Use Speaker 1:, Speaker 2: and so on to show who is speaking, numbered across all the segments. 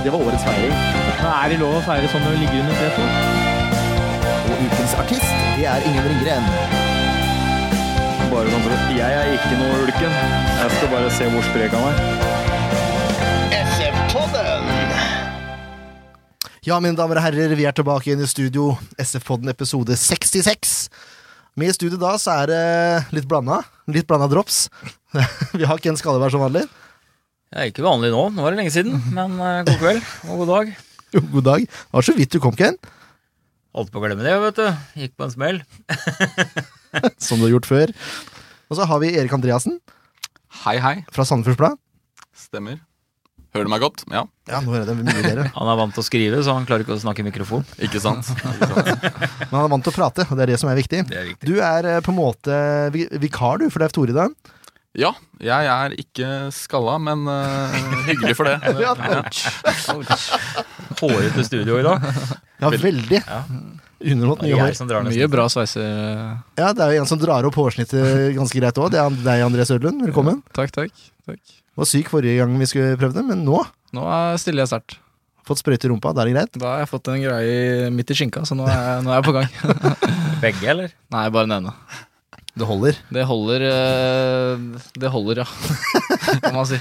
Speaker 1: Det var årets feiring.
Speaker 2: Er det lov å feire sånn når du ligger under tre to?
Speaker 1: Og ukens artist, det er Ingen Ringgren.
Speaker 3: Bare sånn for at Jeg er ikke noe ulken. Jeg skal bare se hvor sprek han er.
Speaker 4: Ja, mine damer og herrer, vi er tilbake igjen i studio. SF-podden episode 66. Med i studio da så er det litt blanda. Litt blanda drops. Vi har Ken Skalleberg som vanlig.
Speaker 5: Det er ikke vanlig nå, nå er det lenge siden, men eh, god kveld og god dag.
Speaker 4: Jo, God dag. Det var så vidt du kom, Ken.
Speaker 5: Holdt på å glemme det, vet du. Gikk på en smell.
Speaker 4: Som du har gjort før. Og så har vi Erik Andreassen
Speaker 6: Hei, hei.
Speaker 4: fra Sandefjords Blad.
Speaker 6: Stemmer. Hører du meg godt? Ja,
Speaker 4: Ja, nå hører jeg det mye bedre.
Speaker 5: Han er vant til å skrive, så han klarer ikke å snakke i mikrofon.
Speaker 6: ikke sant?
Speaker 4: Men han er vant til å prate, og det er det som er viktig.
Speaker 5: Det er viktig.
Speaker 4: Du er eh, på en måte vi- vikar, du, for Leif Tore i dag.
Speaker 6: Ja, jeg er ikke skalla, men eh, hyggelig for det.
Speaker 4: Ja,
Speaker 5: Hårete studio i dag.
Speaker 4: ja veldig.
Speaker 5: Ja.
Speaker 4: Underholdt
Speaker 5: Det
Speaker 4: nye
Speaker 5: er sånn.
Speaker 4: hår.
Speaker 5: jeg som drar
Speaker 7: Mye
Speaker 5: nesten.
Speaker 7: bra sveiser.
Speaker 4: Ja, det er jo en som drar opp hårsnittet ganske greit òg. Det er deg, André Sørlund. Velkommen.
Speaker 7: Takk, takk. takk.
Speaker 4: Var syk forrige gang vi skulle prøve det, men nå
Speaker 7: Nå er- stiller jeg sterkt.
Speaker 4: fått sprøyte i rumpa. Da er det greit.
Speaker 7: Da har jeg fått en greie midt i skinka, så nå er jeg, nå er jeg på gang.
Speaker 5: Begge, eller?
Speaker 7: Nei, bare den ene.
Speaker 4: Det holder.
Speaker 7: Det holder, eh, det holder, ja. Kan man si.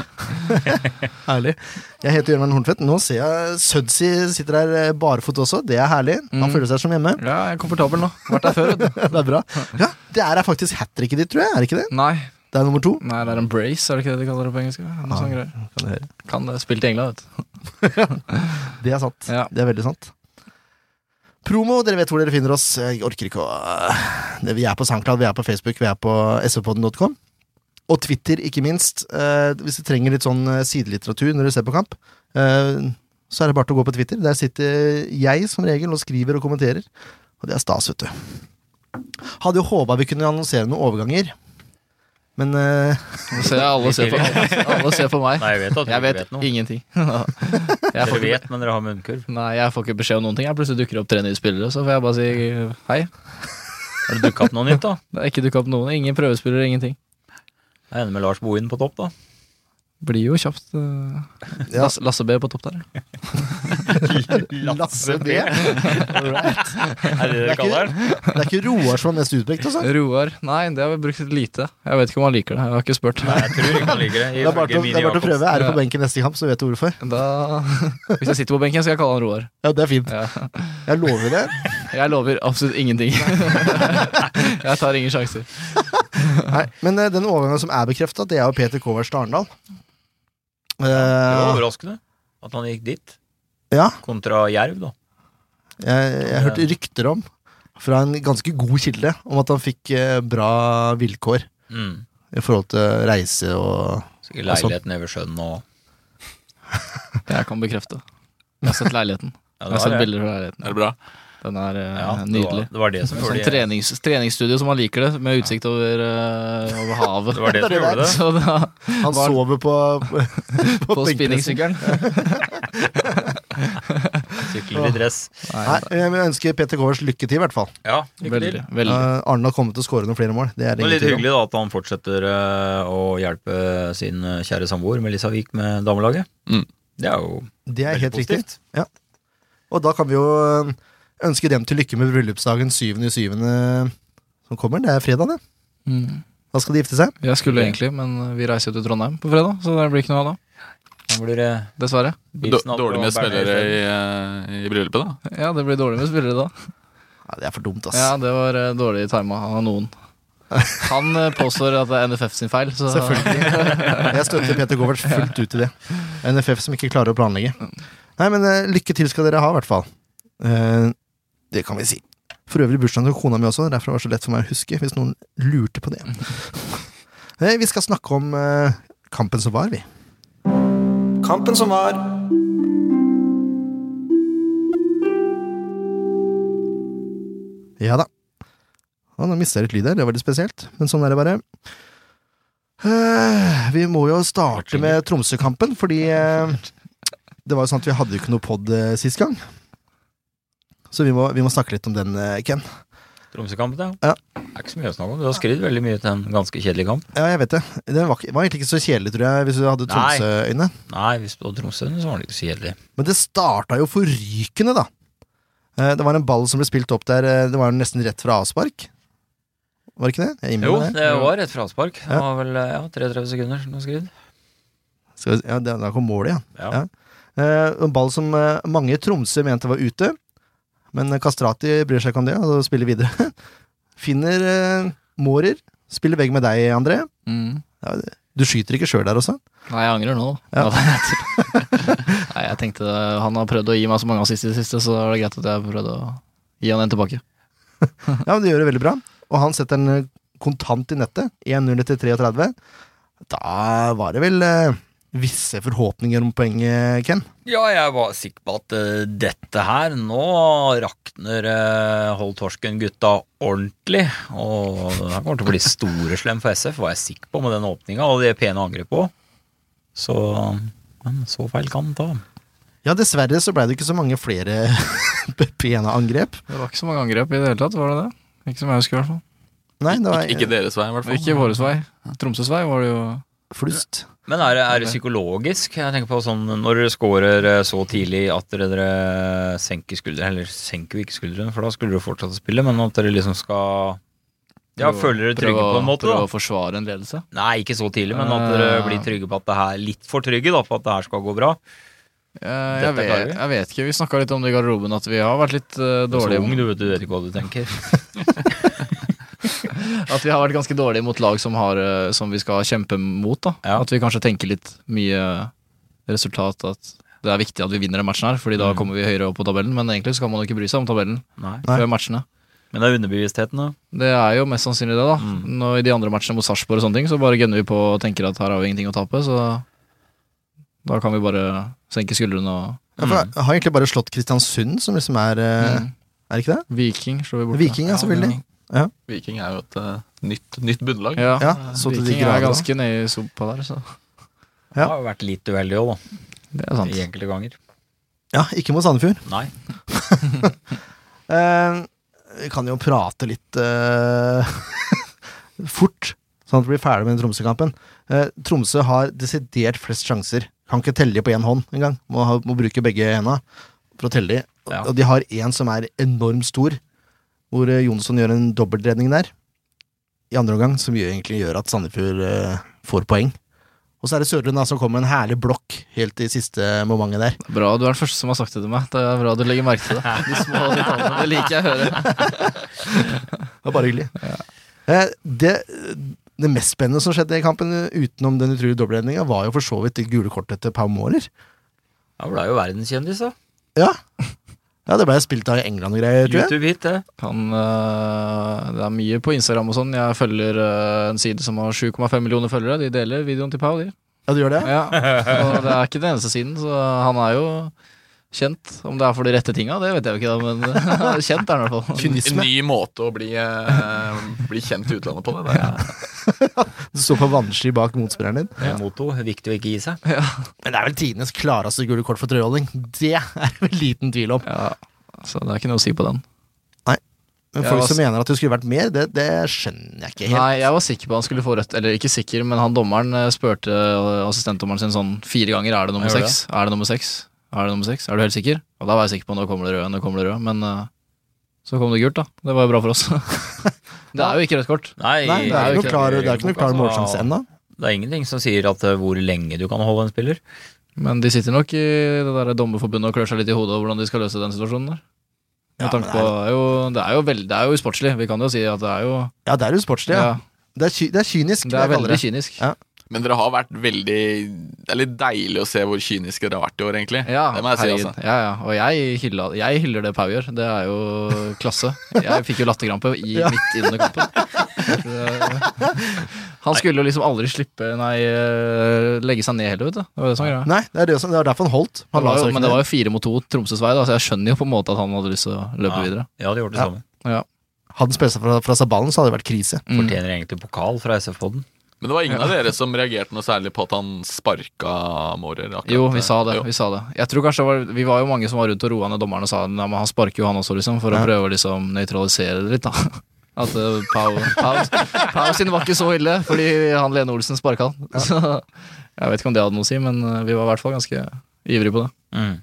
Speaker 4: Herlig. Jeg heter Jørgen Horntvedt. Nå ser jeg Sødsi sitter her eh, barfot også. Det er herlig. Han
Speaker 7: Mm.
Speaker 4: føler seg som hjemme.
Speaker 7: Ja, jeg er komfortabel nå. Vært der før, vet du.
Speaker 4: det er bra. Ja, det er faktisk hat tricket ditt, tror jeg. Er det ikke det?
Speaker 7: Nei,
Speaker 4: Det er nummer to.
Speaker 7: nei, det er en brace, er det ikke det de kaller det på engelsk? Ja, Noe sånn greier.
Speaker 4: Kan jeg høre.
Speaker 7: Kan det. Spilt i England, vet du.
Speaker 4: Det er sant.
Speaker 7: Ja.
Speaker 4: Det er veldig sant. Promo, dere vet hvor dere finner oss. Jeg orker ikke å eh, Det- Vi er på SoundCloud, vi er på Facebook, vi er på svpodden.com. Og Twitter, ikke minst. Eh, hvis du trenger litt sånn eh, sidelitteratur når du ser på kamp, eh, så er det bare til å gå på Twitter. Der sitter jeg som regel og skriver og kommenterer. Og det er stas, vet du. Hadde jo håpa vi kunne annonsere noen overganger, men eh,
Speaker 7: Nå ser jeg alle ser på, alle ser på meg.
Speaker 5: Nei, jeg vet at du ikke
Speaker 7: Jeg vet
Speaker 5: vet noe.
Speaker 7: ingenting. Jeg
Speaker 5: Dere
Speaker 7: får, ikke-
Speaker 5: vet, men dere har munnkurv.
Speaker 7: nei, jeg får ikke beskjed om noen ting. Jeg plutselig dukker det opp tre nye spillere, så får jeg bare si hei.
Speaker 5: Har det dukka opp noe nytt, da?
Speaker 7: Det har ikke dukket opp noen. Ingen prøvespillere, ingenting.
Speaker 5: Jeg ender med Lars Bohin på topp, da.
Speaker 7: Blir jo kjapt eh,
Speaker 4: Ja.
Speaker 7: Lasse, Lasse B på topp der.
Speaker 4: Lasse B.
Speaker 5: Er det det
Speaker 4: Det er
Speaker 5: dere kaller den?
Speaker 4: Det er ikke Roar som er mest utpekt, altså.
Speaker 7: Roar. Nei, det har vi brukt lite. Jeg vet ikke om han liker det. Jeg har ikke spurt.
Speaker 5: Nei, jeg tror ikke han liker det.
Speaker 4: Det er bare til å- det er bare til å prøve. Er du på benken neste kamp, så vet du hvorfor.
Speaker 7: Da, hvis jeg sitter på benken, skal jeg kalle han Roar.
Speaker 4: Ja, det er fint.
Speaker 7: Ja.
Speaker 4: Jeg lover det.
Speaker 7: Jeg lover absolutt ingenting. Jeg tar ingen sjanser.
Speaker 4: Nei, men eh, den overgangen som er bekrefta, det er jo Peter Kovács til Arendal. Eh,
Speaker 5: Det var overraskende at han gikk dit,
Speaker 4: ja,
Speaker 5: kontra Jerv, da.
Speaker 4: jeg, jeg hørte rykter om, fra en ganske god kilde, om at han fikk eh, bra vilkår
Speaker 5: Mm.
Speaker 4: i forhold til reise og
Speaker 5: Sikkert leilighet nede ved sjøen og
Speaker 7: Jeg kan bekrefte. Jeg har sett leiligheten.
Speaker 5: ja,
Speaker 7: Jeg har sett
Speaker 5: det.
Speaker 7: bilder fra leiligheten.
Speaker 6: Er det bra?
Speaker 7: Den er eh,
Speaker 5: Ja, det, var,
Speaker 7: nydelig.
Speaker 5: det var det som
Speaker 7: Sånn
Speaker 5: gjorde det.
Speaker 7: trenings, treningsstudio som han liker det, med utsikt over, eh, over havet.
Speaker 5: Det var det som gjorde det.
Speaker 7: Så da,
Speaker 4: Han
Speaker 7: Var-
Speaker 4: sover på På,
Speaker 7: på
Speaker 4: benken.
Speaker 7: spinningsykkelen.
Speaker 5: Sykler i dress.
Speaker 4: Nei, jeg vil ønske Peter Kovács lykke til, i hvert fall.
Speaker 5: Ja, lykke til.
Speaker 7: Veldig. veldig.
Speaker 4: Eh, Arendal kommer til å skåre noen flere mål. Det er
Speaker 5: Det
Speaker 4: det
Speaker 5: er
Speaker 4: ingen
Speaker 5: litt
Speaker 4: tvil om.
Speaker 5: hyggelig da at han fortsetter eh, å hjelpe sin eh, kjære samboer Melissa Wiik med damelaget.
Speaker 6: Mm.
Speaker 5: Det er jo
Speaker 4: Det er
Speaker 5: veldig
Speaker 4: helt riktig.
Speaker 5: positivt.
Speaker 4: Og da kan vi jo eh, ønske dem til lykke med bryllupsdagen 7.7. som kommer. Det er fredag, det.
Speaker 7: Mm.
Speaker 4: Da skal de gifte seg.
Speaker 7: Jeg skulle egentlig, men eh, vi reiser jo til Trondheim på fredag, så det blir ikke noe av da.
Speaker 5: Da blir det
Speaker 7: Dessverre.
Speaker 6: Dår-
Speaker 5: Bilsen opp
Speaker 6: Dårlig med
Speaker 5: og Berner
Speaker 6: spillere
Speaker 5: i
Speaker 6: i, eh, i bryllupet, da?
Speaker 7: Ja, det blir dårlig med spillere da.
Speaker 4: Ja, det er for dumt, ass.
Speaker 7: Ja, det var eh, dårlig tima av noen. Han eh, påstår at det er NFF sin feil, så
Speaker 4: Selvfølgelig. Jeg støtter Peter Govert fullt ut i det. NFF som ikke klarer å planlegge. Nei, men eh, lykke til skal dere ha, i hvert fall. Eh, det kan vi si. For øvrig bursdagen til kona mi også, derfor var det så lett for meg å huske, hvis noen lurte på det. Eh, vi skal snakke om eh, kampen som var, vi.
Speaker 1: Kampen som var.
Speaker 4: Ja da. Å, nå mista jeg litt lyd her, det var litt spesielt. Men sånn er det bare. Eh, Vi må jo starte med Tromsø-kampen, fordi eh, det var jo sånn at vi hadde jo ikke noe pod sist gang. Så vi må, vi må snakke litt om den, eh, Ken.
Speaker 5: Tromsø-kampen,
Speaker 4: Ja.
Speaker 5: Det er ikke så mye å snakke om. Du har skrevet veldig mye til en ganske kjedelig kamp.
Speaker 4: Ja, jeg vet det. Den var, ikke- var egentlig ikke så kjedelig, tror jeg, hvis du hadde
Speaker 5: Nei.
Speaker 4: Tromsø-øyne.
Speaker 5: Nei, hvis du hadde Tromsø, så var det ikke så kjedelig.
Speaker 4: Men det starta jo forrykende, da. Eh, Det var en ball som ble spilt opp der, eh, det var nesten rett fra avspark. Var det ikke det? Jeg innbiller
Speaker 5: Jo,
Speaker 4: meg det.
Speaker 5: det var et fraspark.
Speaker 4: Ja.
Speaker 5: Det var vel eh, ja, 33 sekunder som du har skrevet.
Speaker 4: Skal vi, ja, da da kom målet, ja.
Speaker 5: Ja.
Speaker 4: Ja. Eh, en ball som eh, mange i Tromsø mente var ute, men Kastrati bryr seg ikke om det og spiller videre. Finner eh, Mårer. Spiller vegg med deg, André.
Speaker 7: Mm.
Speaker 4: Du skyter ikke sjøl der også?
Speaker 7: Nei, jeg angrer nå.
Speaker 4: Ja.
Speaker 7: Nei, jeg tenkte det- Han har prøvd å gi meg så mange assist i det siste, så det er greit at jeg prøvde å gi han en tilbake.
Speaker 4: Ja, men Du gjør det veldig bra. Og han setter den eh, kontant i nettet. 1-0 til 33. Da var det vel eh, visse forhåpninger om poenget, Ken.
Speaker 5: Ja, jeg var sikker på at eh, dette her Nå rakner eh, Hold Torsken-gutta ordentlig. Og det her kommer til å bli store slem for SF, var jeg sikker på med den åpninga og det pene angrepet òg. Så Men så feil kan den ta.
Speaker 4: Ja, dessverre så blei det ikke så mange flere pene angrep.
Speaker 7: Det var ikke så mange angrep i det hele tatt, var det det? Ikke som jeg husker, i hvert fall.
Speaker 4: Nei, det var
Speaker 6: Ikke deres vei, i hvert fall.
Speaker 7: Ikke våres vei. Tromsøs vei var det jo
Speaker 4: flust.
Speaker 5: Men er det, er det psykologisk? Jeg tenker på sånn Når dere scorer eh, så tidlig at dere, dere senker skuldrene Eller senker jo ikke skuldrene, for da skulle dere fortsatt å spille, men at dere liksom skal Ja,
Speaker 7: Prøve-
Speaker 5: føler dere trygge
Speaker 7: prøve å-
Speaker 5: på en måte,
Speaker 7: Prøve
Speaker 5: da?
Speaker 7: å forsvare en ledelse.
Speaker 5: Nei, ikke så tidlig, men at
Speaker 4: Eh.
Speaker 5: dere blir trygge på at det her Litt for trygge, da, på at det her skal gå bra.
Speaker 7: Eh,
Speaker 5: Dette
Speaker 7: jeg,
Speaker 5: klarer
Speaker 7: vet,
Speaker 5: vi.
Speaker 7: jeg vet ikke, vi snakka litt om det i garderoben, at vi har vært litt
Speaker 5: Du er
Speaker 7: eh,
Speaker 5: så
Speaker 7: dårlige
Speaker 5: ung, du vet, du vet ikke hva du tenker.
Speaker 7: At vi har vært ganske dårlige mot lag som, har, eh, som vi skal kjempe mot. Da.
Speaker 5: Ja.
Speaker 7: At vi kanskje tenker litt mye resultat. At det er viktig at vi vinner den matchen her, Fordi da
Speaker 5: Mm.
Speaker 7: kommer vi høyere opp på tabellen. Men egentlig så kan man jo ikke bry seg om tabellen
Speaker 5: Nei.
Speaker 4: Nei.
Speaker 7: før matchene.
Speaker 5: Men det er underbevisstheten, da.
Speaker 7: Det er jo mest sannsynlig det, da.
Speaker 5: Mm.
Speaker 7: Nå I de andre matchene mot Sarpsborg og sånne ting, så bare gunner vi på og tenker at her har vi ingenting å tape, så da kan vi bare senke skuldrene og
Speaker 4: Ja, for jeg har egentlig bare slått Kristiansund, som liksom er eh,
Speaker 7: Mm.
Speaker 4: Er det ikke det?
Speaker 7: Viking slår vi bort.
Speaker 4: Viking, ja, selvfølgelig. Ja.
Speaker 6: Viking er jo et eh, nytt, nytt bunnlag.
Speaker 7: Ja.
Speaker 4: Ja, så til de
Speaker 7: Viking er
Speaker 4: grader. da.
Speaker 7: ganske nede i sopa der, så
Speaker 4: Ja.
Speaker 5: Har jo vært litt uheldig òg, da.
Speaker 7: det er sant.
Speaker 5: I enkelte ganger.
Speaker 4: Ja, ikke mot Sandefjord.
Speaker 5: Nei.
Speaker 4: Eh, vi kan jo prate litt eh, fort, sånn at vi blir ferdig med den Tromsø-kampen. Eh, Tromsø har desidert flest sjanser. Kan ikke telle de på én hånd engang. Må, ha- må bruke begge henda for å telle de. Og-
Speaker 5: Ja.
Speaker 4: Og de har én som er enormt stor, hvor eh, Jonsson gjør en dobbeltredning der. I andre omgang, som gjør, egentlig gjør at Sandefjord eh, får poeng. Og så er det Sørlund da, som kommer med en herlig blokk helt i siste momentet der.
Speaker 7: Bra, du er den første som har sagt det til meg. Det er bra du legger merke til det. De små detaljene, det liker jeg å høre.
Speaker 4: Det var bare hyggelig. Eh, Det, det mest spennende som skjedde i kampen, utenom den utrolige dobbeltredninga, var jo for så vidt det gule kortet til Pau Måler.
Speaker 5: Ja, Blei jo verdenskjendis, da.
Speaker 4: Ja. ja, det blei spilt av i England og greier, tror jeg.
Speaker 5: YouTube-hit, det.
Speaker 7: Han, øh, det er mye på Instagram og sånn. Jeg følger øh, en side som har 7,5 millioner følgere. De deler videoen til Pau, de.
Speaker 4: Ja, du gjør det? ja?
Speaker 7: Ja. Og det er ikke den eneste siden, så han er jo kjent. Om det er for de rette tinga, det vet jeg jo ikke, da, men kjent er han i hvert fall.
Speaker 6: En
Speaker 4: Kynisme.
Speaker 6: ny måte å bli, eh, bli kjent i utlandet på. Det, det er
Speaker 4: Du står på vannski bak motspilleren din.
Speaker 5: Motto. Viktig å ikke gi seg.
Speaker 4: Men det er vel tidenes klareste gule kort for trøyeholding. Det er vel liten tvil om.
Speaker 7: Ja, så det er ikke noe å si på den.
Speaker 4: Men
Speaker 7: Ja,
Speaker 4: folk
Speaker 7: altså-
Speaker 4: som mener at det skulle vært mer, det, det skjønner jeg ikke helt.
Speaker 7: Nei, jeg var sikker på han skulle få rødt, eller ikke sikker, men han dommeren eh, spurte eh, assistentdommeren sin sånn fire ganger er det nummer
Speaker 5: Jeg gjorde
Speaker 7: seks, er det nummer seks, er det nummer seks, er du helt sikker? Og da var jeg sikker på nå kommer det røde, nå kommer det røde, men eh, så kom det gult, da. Det var jo bra for oss. det er jo ikke rødt kort.
Speaker 5: Nei,
Speaker 4: Nei, det er jo
Speaker 7: jo
Speaker 4: ikke noe klar,
Speaker 5: i
Speaker 4: det er ikke noe
Speaker 5: regelboka,
Speaker 4: klar
Speaker 5: så-
Speaker 4: målsjanse ennå.
Speaker 5: Det er ingenting som sier at eh, hvor lenge du kan holde en spiller.
Speaker 7: Men de sitter nok i det der dommerforbundet og klør seg litt i hodet over hvordan de skal løse den situasjonen der. Med
Speaker 4: Ja, men
Speaker 7: tanke på, det er jo, det er jo, veld, det er jo usportslig, vi kan jo si at det er jo
Speaker 4: Ja, det er jo sportslig, ja.
Speaker 7: ja,
Speaker 4: Det, er ky det er kynisk.
Speaker 7: Det er
Speaker 4: jeg kaller
Speaker 7: veldig
Speaker 4: det.
Speaker 7: kynisk.
Speaker 4: Ja.
Speaker 6: Men dere har vært veldig Det er litt deilig å se hvor kyniske dere har vært i år, egentlig.
Speaker 7: Ja,
Speaker 6: det må jeg si,
Speaker 7: herregud.
Speaker 6: altså.
Speaker 7: ja, ja. Og jeg, hylla, jeg hyller det Pau gjør. Det er jo klasse. Jeg fikk jo latterkrampe i, midt i denne kampen. Det- Han skulle jo liksom aldri slippe Nei, eh, legge seg ned heller, vet du. Det var det som var greia.
Speaker 4: Nei, det er, det, som, det er derfor han holdt.
Speaker 7: Det
Speaker 4: Han la
Speaker 7: var
Speaker 4: seg
Speaker 7: jo,
Speaker 4: ikke
Speaker 7: men det
Speaker 4: ned.
Speaker 7: var jo fire mot to Tromsøs vei, da, så jeg skjønner jo på en måte at han hadde lyst til å løpe
Speaker 5: Ja.
Speaker 7: videre.
Speaker 5: Jeg hadde gjort det
Speaker 4: Ja.
Speaker 5: samme.
Speaker 7: Ja.
Speaker 4: Hadde han spilt seg fra, fra seg ballen, så hadde det vært krise.
Speaker 5: Fortjener egentlig pokal fra SF-podden.
Speaker 6: Men det var ingen av dere som reagerte noe særlig på at han sparka Mårer? akkurat.
Speaker 7: eh, Jo, vi sa det.
Speaker 6: Jo.
Speaker 7: Vi sa det. Jeg tror kanskje det var, vi var jo mange som var rundt og roa ned dommeren og sa Nei, men han sparker jo han også, liksom, for å prøve å liksom nøytralisere det litt, da. At eh, Pau, Pau, Pau sin var ikke så ille, fordi han Lene Olsen sparka han. Så jeg vet ikke om det hadde noe å si, men eh, vi var i hvert fall ganske ivrige på det.
Speaker 5: Mm.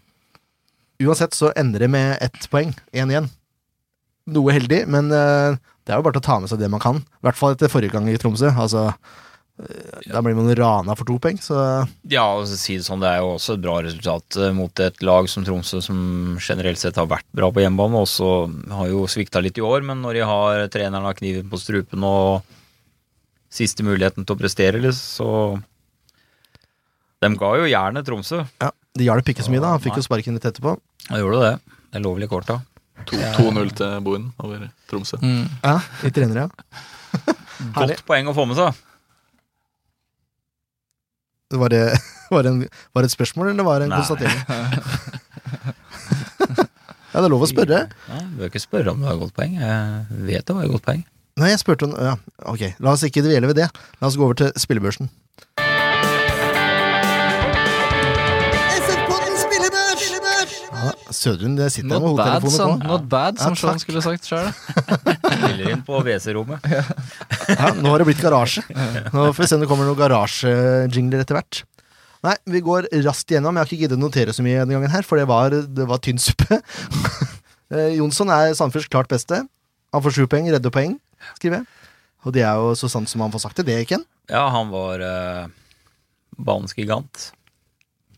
Speaker 4: Uansett så ender det med ett poeng. Én igjen. Noe heldig, men eh, det er jo bare til å ta med seg det man kan. I hvert fall etter forrige gang i Tromsø. Altså, eh, da blir man rana for to poeng, så eh,
Speaker 5: Ja, og så si det sånn, det er jo også et bra resultat eh, mot et lag som Tromsø, som generelt sett har vært bra på hjemmebane, og så har jo svikta litt i år, men når de har treneren har kniven på strupen og siste muligheten til å prestere, eller, så De ga jo jernet Tromsø.
Speaker 4: ja, det hjalp ikke så mye, da. Han fikk
Speaker 5: Nei.
Speaker 4: jo sparken litt etterpå.
Speaker 5: Da gjorde du det. Det er lovlig kort, da.
Speaker 6: To- 2-0 til Boen over Tromsø.
Speaker 7: Mm.
Speaker 4: Ja, I trenere, ja. Herlig.
Speaker 5: Godt poeng å få med seg.
Speaker 4: Var det, var det, en, var det et spørsmål, eller var det en
Speaker 5: Nei.
Speaker 4: konstatering? ja, det er lov å spørre.
Speaker 5: Nei, du bør ikke spørre om det var et godt poeng. Jeg vet det var et godt poeng.
Speaker 4: Nei, jeg spurte om ja, Ok, la oss ikke dvele ved det. La oss gå over til spillebørsen. Ja, Sødrun det sitter med
Speaker 7: Not bad, son.
Speaker 4: hodetelefonen på.
Speaker 7: Not bad, som
Speaker 4: Ja,
Speaker 7: Sean
Speaker 4: takk.
Speaker 7: skulle sagt sjøl.
Speaker 5: Spiller inn på WC-rommet.
Speaker 4: Ja, nå har det blitt garasje. Nå får vi se om det kommer noen garasjejingler etter hvert. Nei, vi går raskt igjennom. Jeg har ikke giddet å notere så mye denne gangen her, for det var, det var tynn suppe. Eh, Jonsson er Sandefjords klart beste. Han får sju poeng, redder poeng, skriver jeg. Og det er jo så sant som han får sagt det, det, Ken.
Speaker 5: Ja, han var eh, banens gigant.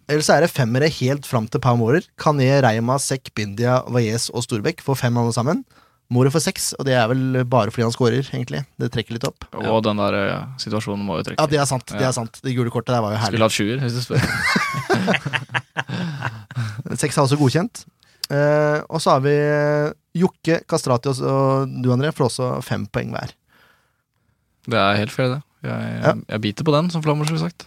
Speaker 4: Ellers er det femmere helt fram til Pau Mårer. Kané, Reima, Sekk, Bindia, Vajez og Storbekk får fem alle sammen. Mårer får seks, og det er vel bare fordi han scorer, egentlig. Det trekker litt opp.
Speaker 7: Og den der eh, situasjonen må jo
Speaker 4: Ja,
Speaker 7: trekke.
Speaker 4: det er sant. Det er sant. Det gule kortet der var jo herlig.
Speaker 7: Skulle hatt sjuer, hvis du spør.
Speaker 4: Seks er også godkjent. Eh, og så har vi Jokke, Kastrati og- og du, André, får også fem poeng hver.
Speaker 7: Det er helt fair, det. Jeg,
Speaker 4: Ja.
Speaker 7: jeg, jeg biter på den, som Flammer skulle sagt.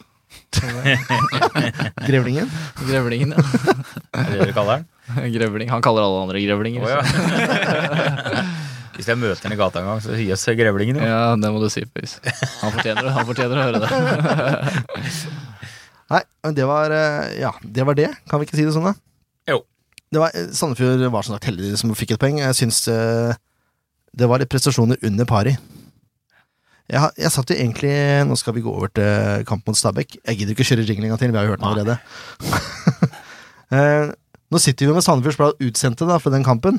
Speaker 4: Grevlingen.
Speaker 7: Grevlingen, ja.
Speaker 5: Er det det du kaller den?
Speaker 7: Grevling. Han kaller alle andre
Speaker 5: Å,
Speaker 7: grevlinger. så-
Speaker 5: ja. Hvis jeg møter henne i gata en gang, så sier jeg grevlingen. jo.
Speaker 7: Ja, det må du si, Pøys. Han fortjener det. Han fortjener å høre det.
Speaker 4: Nei, men det var eh, Ja, det var det. Kan vi ikke si det sånn, da?
Speaker 5: Jo.
Speaker 4: Det var, eh, Sandefjord var som sagt heldig som fikk et poeng. Jeg syns eh, det var litt prestasjoner under pari. Jeg, har- jeg satt jo egentlig Nå skal vi gå over til kamp mot Stabæk. Jeg gidder ikke å kjøre jinglinga til, vi har jo hørt den allerede. Eh, nå sitter vi jo med Sandefjords Blad utsendte da, for den kampen.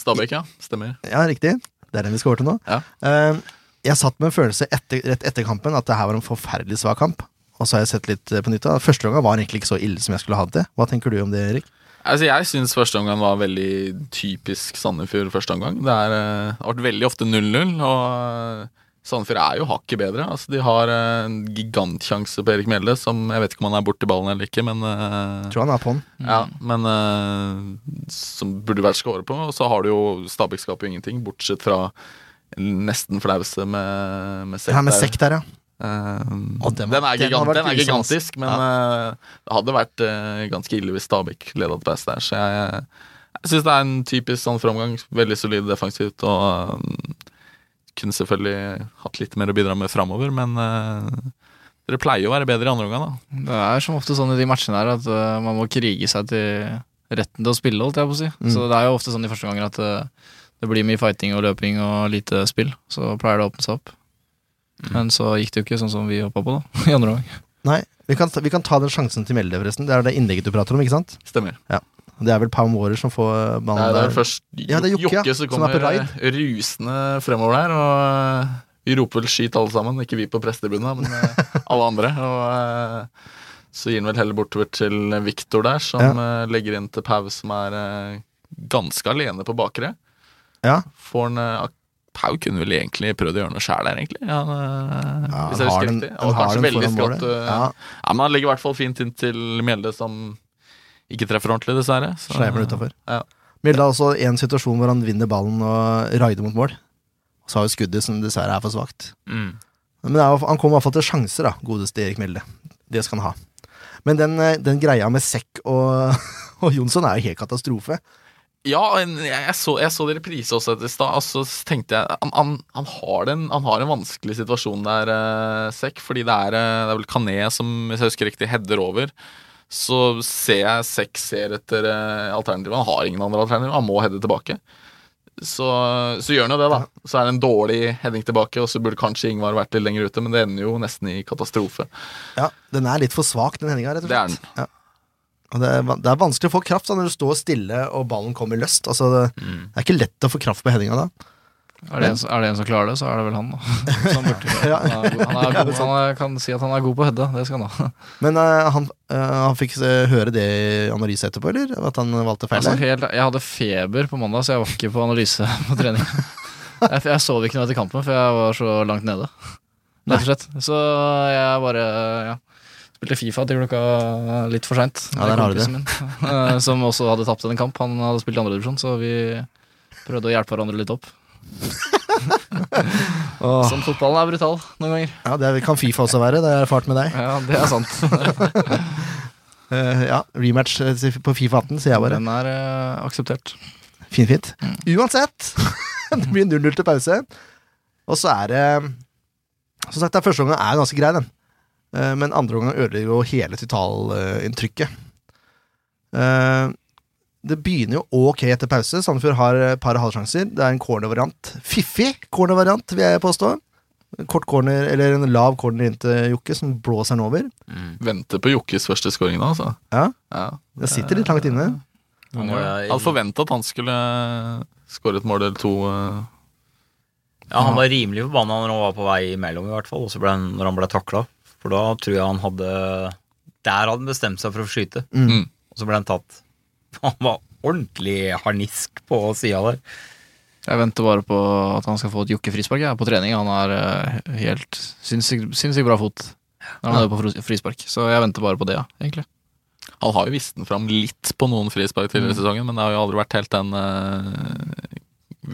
Speaker 6: Stabæk, ja. Stemmer.
Speaker 4: Ja, riktig. Det er den vi skal over til nå.
Speaker 6: Ja.
Speaker 4: Eh, jeg satt med en følelse etter, rett etter kampen at det her var en forferdelig svak kamp. Og så har jeg sett litt eh, på nytt. da. Første gangen var den egentlig ikke så ille som jeg skulle ha det til. Hva tenker du om det, Erik?
Speaker 6: Altså, jeg syns første omgang var veldig typisk Sandefjord. første omgang. Det er, eh, har vært veldig ofte 0-0, og eh, Sandefjord er jo hakket bedre. Altså, de har eh, en gigantsjanse på Erik Mjelde, som jeg vet ikke om han er borti ballen eller ikke, men eh,
Speaker 4: Jeg tror han er på'n.
Speaker 6: Ja, men eh, som burde vært skåret på. Og så har du jo Stabæk skaper jo ingenting, bortsett fra en nesten flause med, med sekk.
Speaker 4: Ja, med
Speaker 6: der.
Speaker 4: sekk der, ja.
Speaker 6: Eh,
Speaker 4: Og
Speaker 6: den,
Speaker 4: den var-
Speaker 6: er
Speaker 4: den har
Speaker 6: gigant,
Speaker 4: vært
Speaker 6: den
Speaker 4: grusom,
Speaker 6: er
Speaker 4: ass.
Speaker 6: gigantisk, men eh, det hadde vært eh, ganske ille hvis Stabæk leda til pass der. Så jeg, jeg syns det er en typisk sånn framgang. Veldig solid defensivt. Og eh, kunne selvfølgelig hatt litt mer å bidra med framover, men eh, dere pleier jo å være bedre i andre omgang, da.
Speaker 7: Det er som ofte sånn i de matchene her at eh, man må krige seg til retten til å spille, holdt jeg på å si. Så det er jo ofte sånn de første ganger at eh, det blir mye fighting og løping og lite spill. Så pleier det å åpne seg opp. Men så gikk det jo ikke sånn som vi hoppa på, da. I andre omgang.
Speaker 4: Nei, vi kan, ta- vi kan ta den sjansen til Mjelde, forresten. Det er det innlegget du prater om, ikke sant?
Speaker 6: Stemmer.
Speaker 4: Det er vel Pau Mårer som får eh,
Speaker 6: Nei,
Speaker 4: ballen
Speaker 6: det er
Speaker 4: der.
Speaker 6: først
Speaker 4: Ja, det er Jokke,
Speaker 6: Jokke,
Speaker 4: ja,
Speaker 6: som
Speaker 4: som er
Speaker 6: kommer
Speaker 4: på raid.
Speaker 6: eh, rusende fremover der. Og eh, vi roper vel 'skyt' alle sammen, ikke vi på prestetribunen, men eh, alle andre. Og eh, så gir han vel heller bortover til Viktor der, som eh, legger inn til Pau, som er eh, ganske alene på bakre.
Speaker 4: Ja.
Speaker 6: Får han eh, ak- Pau kunne vel egentlig prøvd å gjøre noe sjæl der, egentlig. Han, eh,
Speaker 4: Ja, han
Speaker 6: hvis jeg
Speaker 4: har
Speaker 6: husker
Speaker 4: den- han
Speaker 6: riktig. Og
Speaker 4: har
Speaker 6: kanskje
Speaker 4: den
Speaker 6: veldig
Speaker 4: foran
Speaker 6: skatt.
Speaker 4: målet.
Speaker 6: eh,
Speaker 4: Ja.
Speaker 6: ja, men han legger i hvert fall fint inn til Mjelde, som ikke treffer ordentlig, dessverre. Så-
Speaker 4: Sleiver den utafor.
Speaker 6: Ja.
Speaker 4: Mjelde har også en situasjon hvor han vinner ballen og raider mot mål. Og så har vi skuddet som dessverre er for svakt.
Speaker 5: Mm.
Speaker 4: Men det er, jo- han kom i hvert fall til sjanser, da, godeste Erik Mjelde. Det skal han ha. Men den, eh, den greia med Sekk og, og Jonsson er jo helt katastrofe.
Speaker 6: Ja, en- jeg, jeg, så, jeg så det i reprise også etter stad, og så tenkte jeg han, han, han, har den, han har en vanskelig situasjon der, eh, Sekk, fordi det er, eh, det er vel Kané som, hvis jeg husker riktig, header over. Så ser jeg Sekk ser etter eh, alternativer. Han har ingen andre alternativer, han må heade tilbake. Så, så gjør han jo det, da. Så er det en dårlig heading tilbake, og så burde kanskje Ingvar vært litt lenger ute, men det ender jo nesten i katastrofe.
Speaker 4: Ja, Den er litt for svak, den hendinga. rett og
Speaker 6: Det er
Speaker 4: slett.
Speaker 6: den.
Speaker 4: Og det, er, van- det er vanskelig å få kraft da, når du står stille og ballen kommer løst. Altså, det, det er ikke lett å få kraft på hendinga da.
Speaker 7: Er det, en, er det en som klarer det, så er det vel han, da. Så han, burde, han, er god, han, er god, han er, kan si at han er god på å heade. Det skal han ha.
Speaker 4: Men eh, han, eh, han fikk eh, høre det i analyse etterpå, eller? At han valgte feil?
Speaker 7: Altså,
Speaker 4: der?
Speaker 7: helt, jeg hadde feber på mandag, så jeg var ikke på analyse på trening. Jeg, jeg sov ikke noe etter kampen, for jeg var så langt nede. Rett og slett. Så jeg bare ja, spilte Fifa til klokka litt for seint.
Speaker 4: Ja, der har du det.
Speaker 7: eh, Som også hadde tapt en kamp. Han hadde spilt i andredivisjon, så vi prøvde å hjelpe hverandre litt opp.
Speaker 4: Åh,
Speaker 7: Som fotballen er brutal noen ganger.
Speaker 4: ja, det kan Fifa også være, det har jeg erfart med deg.
Speaker 7: Ja, Det er sant.
Speaker 4: Eh, ja, Rematch eh, på Fifa 18, sier jeg bare.
Speaker 7: Den er eh, akseptert.
Speaker 4: Fint, fint. Uansett, det blir 0-0 til pause. Og så er det Som sagt, den første omgangen er ganske grei, den. Eh, Men andre omgang ødelegger jo hele totalinntrykket. Eh, Det begynner jo ok etter pause. Sandefjord har et par halvsjanser. Det er en corner-variant. Fiffig corner-variant, vil jeg påstå. En Kort corner, eller en lav corner inn til Jokke, som blåser den over.
Speaker 6: Venter på Jokkes første scoring nå, altså.
Speaker 4: Ja.
Speaker 6: ja.
Speaker 4: Den sitter litt langt inne.
Speaker 5: Han var,
Speaker 6: Jeg hadde forventa at han skulle skåre et mål eller to. eh.
Speaker 5: ja, han var rimelig forbanna når han var på vei imellom, i hvert fall. Og så ble han, når han ble takla. For da tror jeg han hadde Der hadde han bestemt seg for å skyte.
Speaker 4: Mm.
Speaker 5: Og så ble han tatt. Han var ordentlig harnisk på sida der.
Speaker 7: Jeg venter bare på at han skal få et Jokke frispark jeg, på trening. Han har eh, helt sinnssykt sinnssykt bra fot når han er på fros- frispark. Så jeg venter bare på det, ja, egentlig.
Speaker 6: Han har jo vist den fram litt på noen frispark tidligere
Speaker 4: Mm.
Speaker 6: i sesongen, men det har jo aldri vært helt den eh,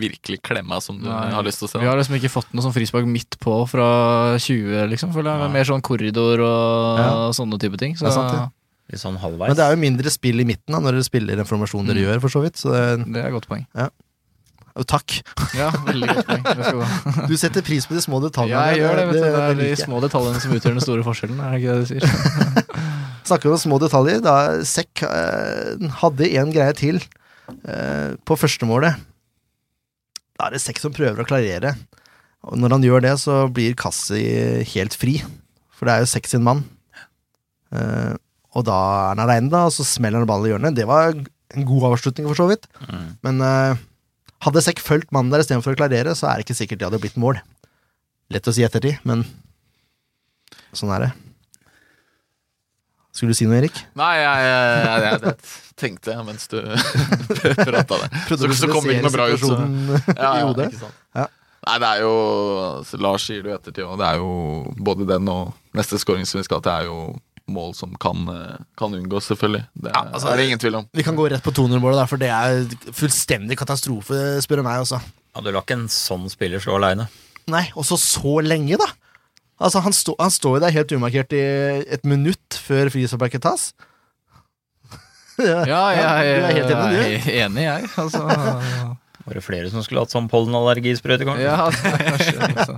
Speaker 6: virkelig klemma som du
Speaker 7: Nei.
Speaker 6: har lyst til å se.
Speaker 7: Vi
Speaker 6: da.
Speaker 7: har liksom ikke fått noe sånn frispark midt på fra 20, liksom. Føler jeg. Mer sånn korridor og
Speaker 4: Ja.
Speaker 7: sånne type ting. Så
Speaker 4: Det er sant, ja.
Speaker 5: Litt sånn halvveis.
Speaker 4: Men det er jo mindre spill i midten da, når dere spiller den formasjonen dere gjør, for så vidt. Så det er,
Speaker 7: det er et godt poeng.
Speaker 4: jo, takk.
Speaker 7: Ja, veldig godt poeng. Det skal gå.
Speaker 4: Du setter pris på de små detaljene.
Speaker 7: Ja, jeg gjør det, vet du. Det er de
Speaker 4: liker jeg.
Speaker 7: små detaljene som utgjør den store forskjellen, er det ikke det du sier?
Speaker 4: Snakker om små detaljer. Da Sekk eh, hadde en greie til eh, på førstemålet. Da er det Sekk som prøver å klarere. Og når han gjør det, så blir Kassi helt fri. For det er jo Sekk sin mann. Eh, og da er han aleine, da, og så smeller han ballen i hjørnet. Det var en god avslutning, for så vidt.
Speaker 5: Mm.
Speaker 4: Men eh, hadde Sekk fulgt mannen der istedenfor å klarere, så er det ikke sikkert det hadde blitt mål. Lett å si i ettertid, men sånn er det. Skulle du si noe, Erik?
Speaker 6: Nei, jeg, jeg, jeg, jeg, jeg tenkte mens du prata det. Så, så kom det ikke noe bra ut. Så.
Speaker 4: ut.
Speaker 6: Ja,
Speaker 4: i
Speaker 6: ja,
Speaker 4: hodet.
Speaker 6: ikke sant.
Speaker 4: Ja.
Speaker 6: Nei, det er jo altså, Lars sier det jo i ettertid, og det er jo både den og neste scoring som vi skal ha, det er jo mål som kan, eh, kan unngås, selvfølgelig. Det er,
Speaker 4: altså,
Speaker 6: er det ingen tvil om.
Speaker 4: Vi kan gå rett på 200-målet, der, for det er fullstendig katastrofe, spør du meg også.
Speaker 5: Ja, du lar ikke en sånn spiller slå aleine.
Speaker 4: Nei, også så lenge, da! Altså, Han, stå, han står jo der helt umarkert i et minutt før frisparket tas.
Speaker 7: Ja, jeg,
Speaker 4: du er helt enig, du.
Speaker 7: jeg er enig, jeg. Altså
Speaker 5: Var det flere som skulle hatt sånn pollenallergisprøyte? kanskje?
Speaker 7: Ja, kanskje altså.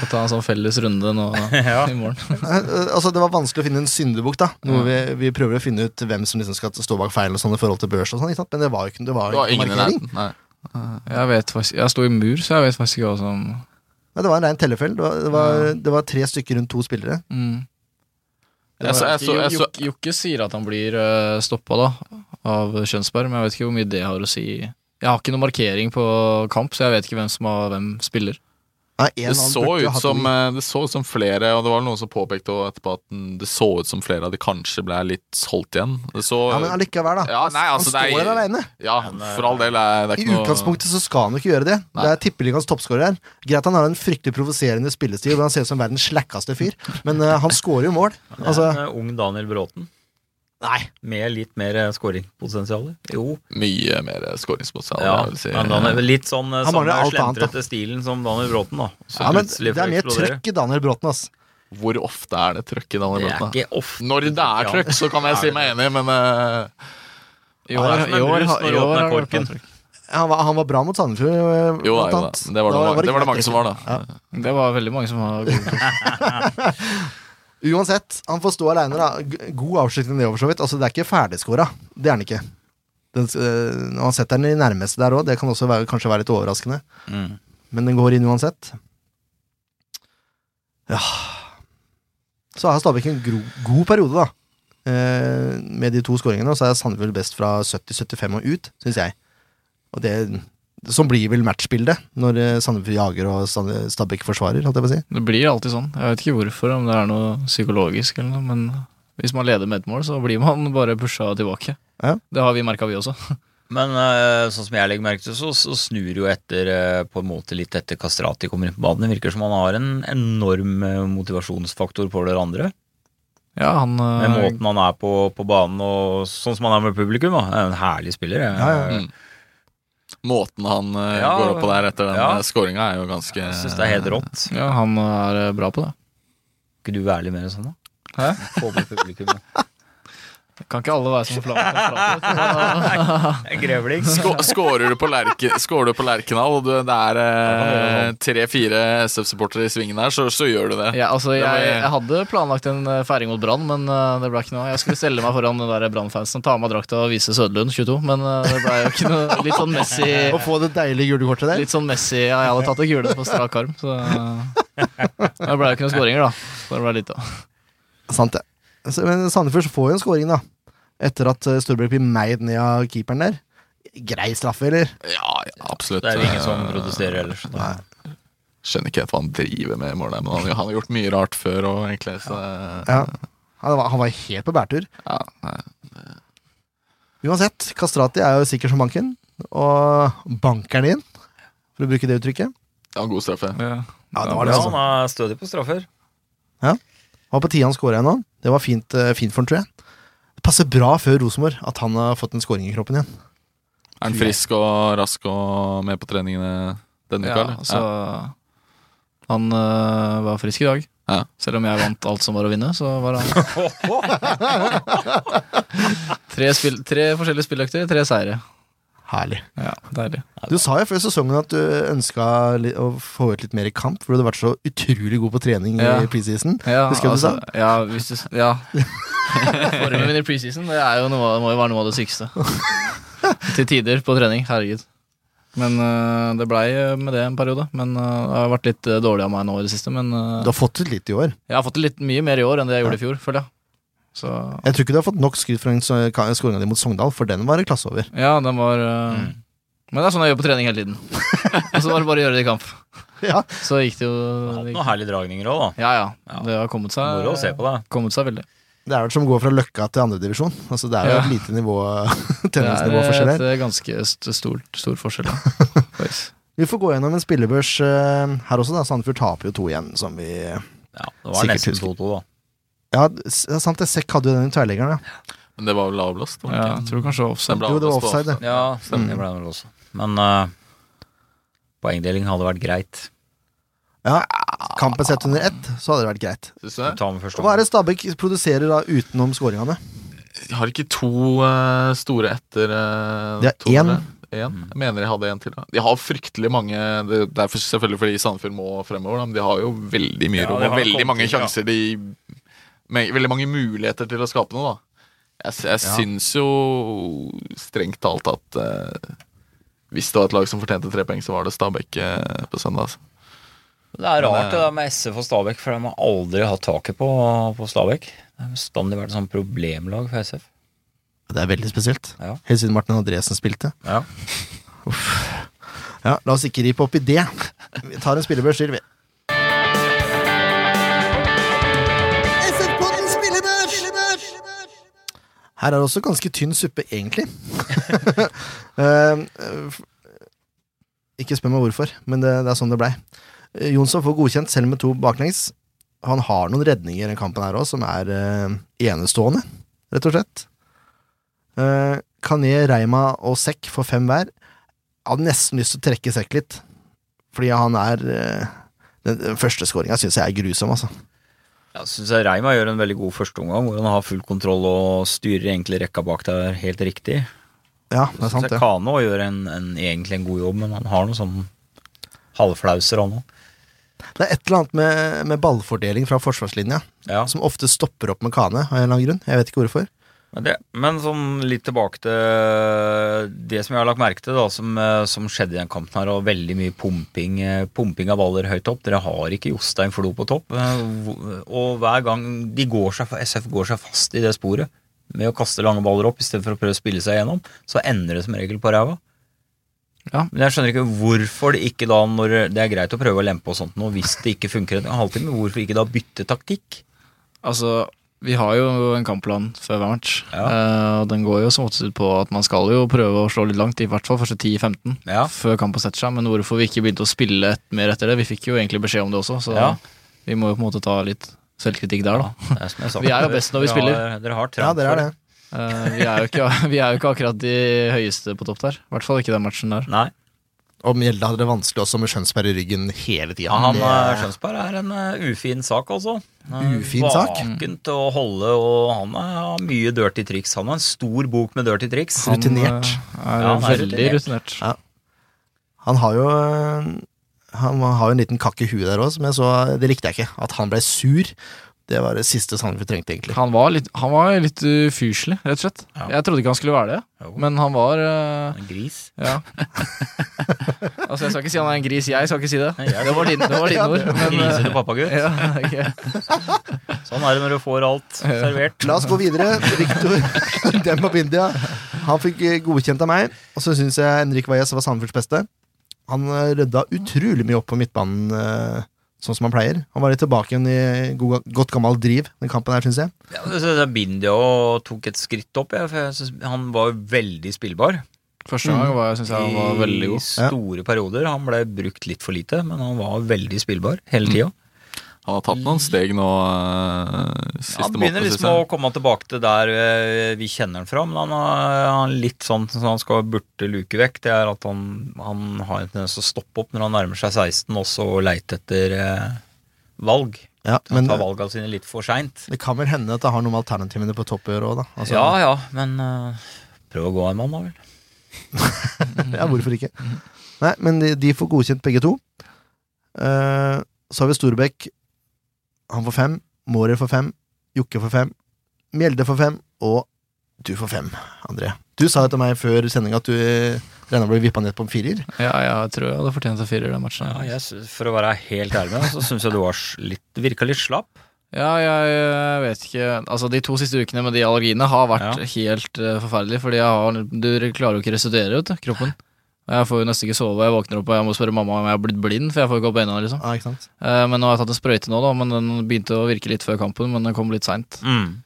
Speaker 7: Få ta en sånn felles runde nå
Speaker 5: Ja.
Speaker 7: i morgen.
Speaker 4: Nei, eh, Altså, det var vanskelig å finne en syndebukk, da. Noe vi, vi prøver å finne ut hvem som liksom skal stå bak feilen og sånn i forhold til børs og sånn, ikke sant? men det var jo ikke, det var
Speaker 6: Det
Speaker 4: jo
Speaker 6: var
Speaker 4: ikke
Speaker 6: ingen i
Speaker 4: markering.
Speaker 6: nærheten. Nei.
Speaker 7: Jeg vet faktisk, jeg sto i mur, så jeg vet faktisk ikke hva som
Speaker 4: Nei, det var en rein tellefeil. Det var, det, var, det var tre stykker rundt to spillere.
Speaker 7: mm. Det
Speaker 6: Jeg så-
Speaker 7: var-
Speaker 6: jeg så- jeg
Speaker 7: Jo-
Speaker 6: så-
Speaker 7: Jok- Jokke sier at han blir uh, stoppa da, av Kjønsberg, men jeg vet ikke hvor mye det har å si. Jeg har ikke noe markering på kamp, så jeg vet ikke hvem som har hvem spiller.
Speaker 4: Nei, en
Speaker 6: Det
Speaker 4: annen
Speaker 6: så,
Speaker 4: burde
Speaker 6: ut
Speaker 4: hatt
Speaker 6: som,
Speaker 4: en-
Speaker 6: eh, det så ut som flere, og det var noen som påpekte også etterpå at den- det så ut som flere av de kanskje ble litt holdt igjen. Det så,
Speaker 4: Ja, men
Speaker 6: ja,
Speaker 4: allikevel, da.
Speaker 6: Ja, nei,
Speaker 4: han
Speaker 6: altså,
Speaker 4: står
Speaker 6: det er-
Speaker 4: der aleine.
Speaker 6: for all del er det
Speaker 4: I
Speaker 6: ikke noe
Speaker 4: utgangspunktet så skal han jo ikke gjøre det.
Speaker 6: Nei.
Speaker 4: Det er tippeligaens toppskårer her. Greit han har en fryktelig provoserende spillestil, og han ser ut som verdens slakkeste fyr, men eh, han scorer jo mål.
Speaker 5: Det er
Speaker 4: Altså,
Speaker 5: en eh, ung Daniel Bråten.
Speaker 4: nei.
Speaker 5: Med litt mer eh, skåringspotensial. Jo,
Speaker 6: mye mer skåringspotensial.
Speaker 5: ja,
Speaker 6: vil jeg si.
Speaker 5: men han er vel litt sånn eh,
Speaker 4: Han
Speaker 5: samme
Speaker 4: mangler alt annet, da.
Speaker 5: slentrete stilen som Daniel Bråten, da. Så
Speaker 4: Ja, men
Speaker 5: plutselig
Speaker 4: det
Speaker 5: får
Speaker 4: er mer
Speaker 5: eksplodere.
Speaker 4: trøkk i Daniel Bråten, ass.
Speaker 6: Hvor ofte er det trøkk i
Speaker 5: Det
Speaker 6: Daniel
Speaker 5: er
Speaker 6: Bråten? da?
Speaker 5: ikke ofte.
Speaker 6: Når det er trøkk, så kan jeg si meg enig, men eh,
Speaker 7: I
Speaker 5: Han
Speaker 7: år,
Speaker 5: er som en
Speaker 7: i år,
Speaker 5: brus
Speaker 7: har-
Speaker 5: når
Speaker 7: i
Speaker 5: du
Speaker 7: år
Speaker 5: åpner
Speaker 7: har det vært
Speaker 5: korken.
Speaker 7: pentrykk.
Speaker 4: Han var, han var bra mot Sandefjord. eh,
Speaker 6: Jo da,
Speaker 4: blant
Speaker 6: jo da.
Speaker 4: annet.
Speaker 6: Det var det,
Speaker 4: Da
Speaker 6: mange- det,
Speaker 4: ikke
Speaker 6: var det
Speaker 4: helt
Speaker 6: mange som
Speaker 4: enkelt.
Speaker 6: var, da.
Speaker 7: Det var veldig mange som var gode.
Speaker 4: Uansett, han får stå aleine, da. G- God avslutning det over, så vidt. Altså, det er ikke ferdigskåra. Det er han ikke. Den, s- øh, når han setter den i nærmeste der òg, det kan også være, kanskje være litt overraskende.
Speaker 5: Mm.
Speaker 4: Men den går inn uansett. Ja Så har Stabæk en gro, god periode, da. Eh, med de to skåringene. Og så er Sandefjord best fra 70-75 og ut, syns jeg. Og det Sånn blir vel matchbildet når eh, Sandefjord jager og Sand- Stabæk forsvarer, holdt jeg på å si.
Speaker 7: Det blir alltid sånn. Jeg vet ikke hvorfor, om det er noe psykologisk eller noe, men hvis man leder med et mål, så blir man bare pusha tilbake.
Speaker 4: Ja.
Speaker 7: Det har vi merka, vi også.
Speaker 5: Men eh, sånn som jeg legger merke til, så, så snur jo etter eh, på en måte litt etter Kastrati kommer inn på banen. Det virker som han har en enorm eh, motivasjonsfaktor på hverandre.
Speaker 7: Ja, han
Speaker 5: Med
Speaker 7: eh,
Speaker 5: måten han er på, på banen og sånn som han er med publikum. Da. Er En herlig spiller. Jeg,
Speaker 4: Ja,
Speaker 6: Mm. Måten han eh,
Speaker 5: Ja,
Speaker 6: går opp på der etter den
Speaker 5: ja.
Speaker 6: ja. skåringa, er jo ganske
Speaker 5: jeg syns det er helt rått.
Speaker 7: Ja, han er eh, bra på det.
Speaker 5: Kan ikke du være litt mer sånn, da?
Speaker 7: Hæ?
Speaker 5: Få med publikum. da.
Speaker 7: Kan ikke alle være som Flamme?
Speaker 5: Grevlings.
Speaker 6: Skå- Skårer du på, Lerke, skårer du på Lerkendal, og du, det er eh, tre-fire SF-supportere i svingen der, så, så gjør du det.
Speaker 7: Ja, altså, jeg,
Speaker 6: var-
Speaker 7: jeg hadde planlagt en eh, feiring mot Brann, men eh, det ble ikke noe. Jeg skulle stelle meg foran den der Brann-fansen, ta av meg drakta og vise Sødlund 22, men eh, det ble jo ikke noe Litt sånn Messi
Speaker 4: Å få det deilige julekortet der.
Speaker 7: Litt sånn Messi ja, Jeg hadde tatt det gule på strak arm, så eh, Det ble jo ikke noen skåringer, da. Bare ble litt, da.
Speaker 4: Sant det. Så- Men Sandefjord får jo en scoring, da. Etter at eh, Storbekk blir meid ned av keeperen der. Grei straffe, eller?
Speaker 6: Ja, ja absolutt.
Speaker 5: Det er jo ingen
Speaker 6: Eh,
Speaker 5: som protesterer ellers. Da.
Speaker 6: Skjønner ikke helt hva han driver med i mål der, men han, han har gjort mye rart før og egentlig, så
Speaker 4: Ja. Han var, han var helt på bærtur.
Speaker 6: ja, nei.
Speaker 4: Uansett, Kastrati er jo sikker som banken, og banker den inn, for å bruke det uttrykket.
Speaker 6: Det var en god straffe.
Speaker 4: Ja, det var det,
Speaker 5: Ja,
Speaker 4: altså.
Speaker 5: han er stødig på straffer.
Speaker 4: Det var på tide han scora nå. Det var fint, eh, fint for han, tror jeg. Det passer bra før Rosenborg at han har fått en scoring i kroppen igjen.
Speaker 6: Er han frisk og rask og med på treningene denne uka?
Speaker 7: Ja,
Speaker 6: eller?
Speaker 7: så Han eh, var frisk i dag.
Speaker 6: Ja.
Speaker 7: Selv om jeg vant alt som var å vinne, så var han tre, spill, tre forskjellige spilløkter, tre seire.
Speaker 4: Herlig.
Speaker 7: Ja, Deilig.
Speaker 4: Du sa jo før sesongen at du ønska li- å få ut litt mer i kamp, for du hadde vært så utrolig god på trening
Speaker 7: Ja.
Speaker 4: i preseason.
Speaker 7: Ja,
Speaker 4: Husker du
Speaker 7: altså, Ja, hvis du, s- ja. Formen min i preseason det er jo noe, av- må jo være noe av det sykeste. Til tider på trening. Herregud. Men eh, det blei eh, med det en periode. Men eh, Det har vært litt eh, dårlig av meg nå i det siste. Men eh,
Speaker 4: Du har fått ut litt i år.
Speaker 7: jeg har fått det litt mye mer i år enn det jeg gjorde i fjor, føler jeg. Så
Speaker 4: Jeg tror ikke du har fått nok skryt fra skoringa di mot Sogndal, for den var det klasse over.
Speaker 7: ja, den var eh,
Speaker 5: Mm.
Speaker 7: Men det er sånn jeg gjør på trening hele tiden. Og så var det bare å gjøre det i kamp.
Speaker 4: Ja.
Speaker 7: Så gikk det jo
Speaker 5: Han har hatt
Speaker 7: det
Speaker 5: noen
Speaker 7: gikk,
Speaker 5: herlige dragninger òg, da.
Speaker 7: Ja, ja.
Speaker 5: Ja.
Speaker 7: Det har kommet seg,
Speaker 5: Moro å se på, da.
Speaker 7: kommet seg veldig.
Speaker 4: Det er vel som å gå fra Løkka til andredivisjon. Altså, det er jo
Speaker 7: Ja.
Speaker 4: et lite nivå
Speaker 7: Det
Speaker 4: tennisnivå
Speaker 7: er
Speaker 4: forskjell
Speaker 7: et
Speaker 4: her.
Speaker 7: eh, ganske st stort, stor forskjell. da. Faktisk.
Speaker 4: Vi får gå gjennom en spillebørs eh, her også, da. Sandefjord taper jo to igjen, som vi
Speaker 5: Ja, det var
Speaker 4: Sikkert
Speaker 5: nesten
Speaker 4: husker.
Speaker 5: 2-2, da.
Speaker 4: Ja, s- det er sant det. Sekk hadde jo den i tverrleggeren, ja.
Speaker 6: Men det var vel avblåst? var det
Speaker 7: Ja,
Speaker 6: ikke?
Speaker 7: jeg tror kanskje
Speaker 6: Den
Speaker 7: offside.
Speaker 6: ble
Speaker 4: Jo, det var
Speaker 6: avblåst på
Speaker 4: offside, det.
Speaker 5: Ja, det ble det vel også. Mm. Men eh, poengdeling hadde vært greit.
Speaker 4: ja. Kampen sett under ett, så hadde det vært greit.
Speaker 6: Synes du det?
Speaker 5: Ta med første
Speaker 4: Hva er
Speaker 5: omgang.
Speaker 4: det Stabæk produserer da utenom skåringene?
Speaker 6: De har ikke to eh, store etter uh,
Speaker 4: De har én.
Speaker 6: Én? Jeg mener de hadde én til. Da. De har fryktelig mange Det det er for- selvfølgelig fordi Sandefjord må fremover, da, men de har jo veldig mye
Speaker 5: Ja,
Speaker 6: rom
Speaker 5: de
Speaker 6: og
Speaker 5: har
Speaker 6: veldig
Speaker 5: kommet
Speaker 6: mange
Speaker 5: til, ja.
Speaker 6: sjanser de med, Veldig mange muligheter til å skape noe, da. Jeg, s- jeg syns jo strengt talt at eh, hvis det var et lag som fortjente tre poeng, så var det Stabæk eh, på søndag. Altså.
Speaker 5: Det er rart det der med SF og Stabæk, for de har aldri hatt taket på, på Stabæk. Det har bestandig vært et sånt problemlag for SF.
Speaker 4: Det er veldig spesielt.
Speaker 5: Ja.
Speaker 4: Helt siden Martin Andresen spilte.
Speaker 5: Ja.
Speaker 4: Ja, La oss ikke ripe opp i det. Vi tar en spillebørs til, vi. Her er det også ganske tynn suppe, egentlig. Eh, f- ikke spør meg hvorfor, men det, det er sånn det blei. Eh, Jonsson får godkjent selv med to baklengs. Han har noen redninger i den kampen her òg, som er eh, enestående, rett og slett. Eh, Kané, Reima og Sekk får fem hver. Jeg hadde nesten lyst til å trekke Sekk litt, fordi han er eh, Den, den første skåringa syns jeg er grusom, altså.
Speaker 5: Jeg syns Reima gjør en veldig god førsteomgang, hvor han har full kontroll og styrer egentlig rekka bak der helt riktig.
Speaker 4: Ja, det er sant, det.
Speaker 5: Kano gjør en, en, egentlig en god jobb, men han har noen sånn halvflauser han òg.
Speaker 4: Det er et eller annet med, med ballfordeling fra forsvarslinja
Speaker 5: Ja.
Speaker 4: som ofte stopper opp med Kane, av en eller annen grunn. Jeg vet ikke hvorfor.
Speaker 5: Men, det, men sånn litt tilbake til det som jeg har lagt merke til, da, som, eh, som skjedde i den kampen her, og veldig mye pumping, eh, pumping av baller høyt opp. Dere har ikke Jostein Flo på topp. eh, hvor- Og hver gang de går seg, SF går seg fast i det sporet med å kaste lange baller opp istedenfor å prøve å spille seg gjennom, så ender det som regel på ræva.
Speaker 7: Ja.
Speaker 5: Men jeg skjønner ikke hvorfor det ikke da, når det er greit å prøve å lempe og sånt nå, hvis det ikke funker en halvtime, hvorfor ikke da bytte taktikk?
Speaker 7: Altså, vi har jo en kampplan før hver match.
Speaker 5: Ja.
Speaker 7: Eh, og den går jo som oftest ut på at man skal jo prøve å slå litt langt, i hvert fall første 10-15,
Speaker 5: Ja.
Speaker 7: før kampen setter seg. Men hvorfor vi ikke begynte å spille et mer etter det? Vi fikk jo egentlig beskjed om det også, så
Speaker 5: Ja.
Speaker 7: vi må jo på en måte ta litt selvkritikk der, da.
Speaker 5: Det er som jeg sa.
Speaker 7: Vi er jo best når vi
Speaker 5: Dere
Speaker 7: spiller.
Speaker 5: har- Dere
Speaker 4: Ja,
Speaker 5: har trang
Speaker 4: dere er
Speaker 5: for det.
Speaker 4: det.
Speaker 7: Eh, vi, er jo ikke, vi er jo ikke akkurat de høyeste på topp der. I hvert fall ikke den matchen der.
Speaker 5: Nei.
Speaker 4: Og Mjelde hadde det vanskelig også med Skjønsberg i ryggen hele tida.
Speaker 5: Ja, han eh,
Speaker 4: det,
Speaker 5: Skjønsberg er en eh, ufin sak, altså. Eh,
Speaker 4: Ufin sak?
Speaker 5: Vaken til å holde, og han er, har mye dirty triks. Han har en stor bok med dirty triks.
Speaker 7: Han,
Speaker 4: Rutinert.
Speaker 7: eh, er
Speaker 5: Ja, han er
Speaker 7: veldig
Speaker 5: rutinert.
Speaker 7: rutinert.
Speaker 4: han har jo øh, Han har jo en liten kakk i huet der òg, som jeg så eh, Det likte jeg ikke. At han ble sur. Det var det siste Sandefjord trengte, egentlig.
Speaker 7: Han var litt, han var litt ufyselig, rett og slett.
Speaker 5: Ja.
Speaker 7: Jeg trodde ikke han skulle være det,
Speaker 5: Jo.
Speaker 7: men han var eh,
Speaker 5: En gris.
Speaker 7: Ja. altså, jeg skal ikke si han er en gris, jeg skal ikke si det.
Speaker 5: Nei, jeg-
Speaker 7: Det var dine det var dine ord. Men,
Speaker 5: Grisete
Speaker 7: eh,
Speaker 5: pappagutt.
Speaker 7: ja, ok.
Speaker 5: Sånn er det når du får alt servert.
Speaker 4: La oss gå videre. Victor Dembabindia. Han fikk eh, godkjent av meg, og så syns jeg Henrik Valles var Sandefjords beste. Han eh, rydda utrolig mye opp på midtbanen, eh, sånn som han pleier. Han var litt tilbake igjen i god, godt gammel driv, den kampen her, syns jeg.
Speaker 5: Ja, jeg synes Bindia tok et skritt opp, jeg, for jeg synes han var veldig spillbar.
Speaker 7: Første gang var, synes jeg han var veldig
Speaker 5: I
Speaker 7: god.
Speaker 5: store perioder. Han ble brukt litt for lite, men han var veldig spillbar hele tida.
Speaker 6: Han har tatt noen steg nå eh, siste
Speaker 5: Mm. Han
Speaker 6: måned.
Speaker 5: begynner liksom
Speaker 6: synes
Speaker 5: å
Speaker 6: jeg.
Speaker 5: komme tilbake til der eh, vi kjenner han fra, men han har han er litt sånn som han skal burde luke vekk. Det er at han, han har en tendens til å stoppe opp når han nærmer seg 16, også og leite etter eh, valg.
Speaker 4: Ja,
Speaker 5: Han
Speaker 4: men
Speaker 5: tar valga sine litt for seint.
Speaker 4: det kan vel hende at det har noe med alternativene på topp å gjøre òg, da. Altså,
Speaker 5: ja ja, men eh, prøv å gå en mann, da vel.
Speaker 4: Ja, hvorfor ikke? Nei, men de, de får godkjent begge to. Eh, så har vi Storbekk. Han får fem. Mårer får fem. Jokke får fem. Mjelde får fem. Og du får fem, André. Du sa jo til meg før sending at du regna med å bli vippa ned på en firer.
Speaker 7: Ja, jeg tror jeg hadde fortjent en firer i den matchen.
Speaker 5: Ja, jeg synes, for å være helt ærlig med deg, så syns jeg du var s- litt, virka litt slapp.
Speaker 7: Ja, jeg eh, vet ikke Altså, de to siste ukene med de allergiene har vært
Speaker 5: Ja.
Speaker 7: helt eh, forferdelige, fordi jeg har Du klarer jo ikke å restituere, vet du, kroppen. Og Jeg får jo nesten ikke sove, jeg våkner opp og jeg må spørre mamma om jeg har blitt blind, for jeg får ikke opp øynene, liksom.
Speaker 4: Ja, ikke sant?
Speaker 7: Eh, Men nå har jeg tatt en sprøyte nå, da, men den begynte å virke litt før kampen, men den kom litt seint.
Speaker 5: Mm.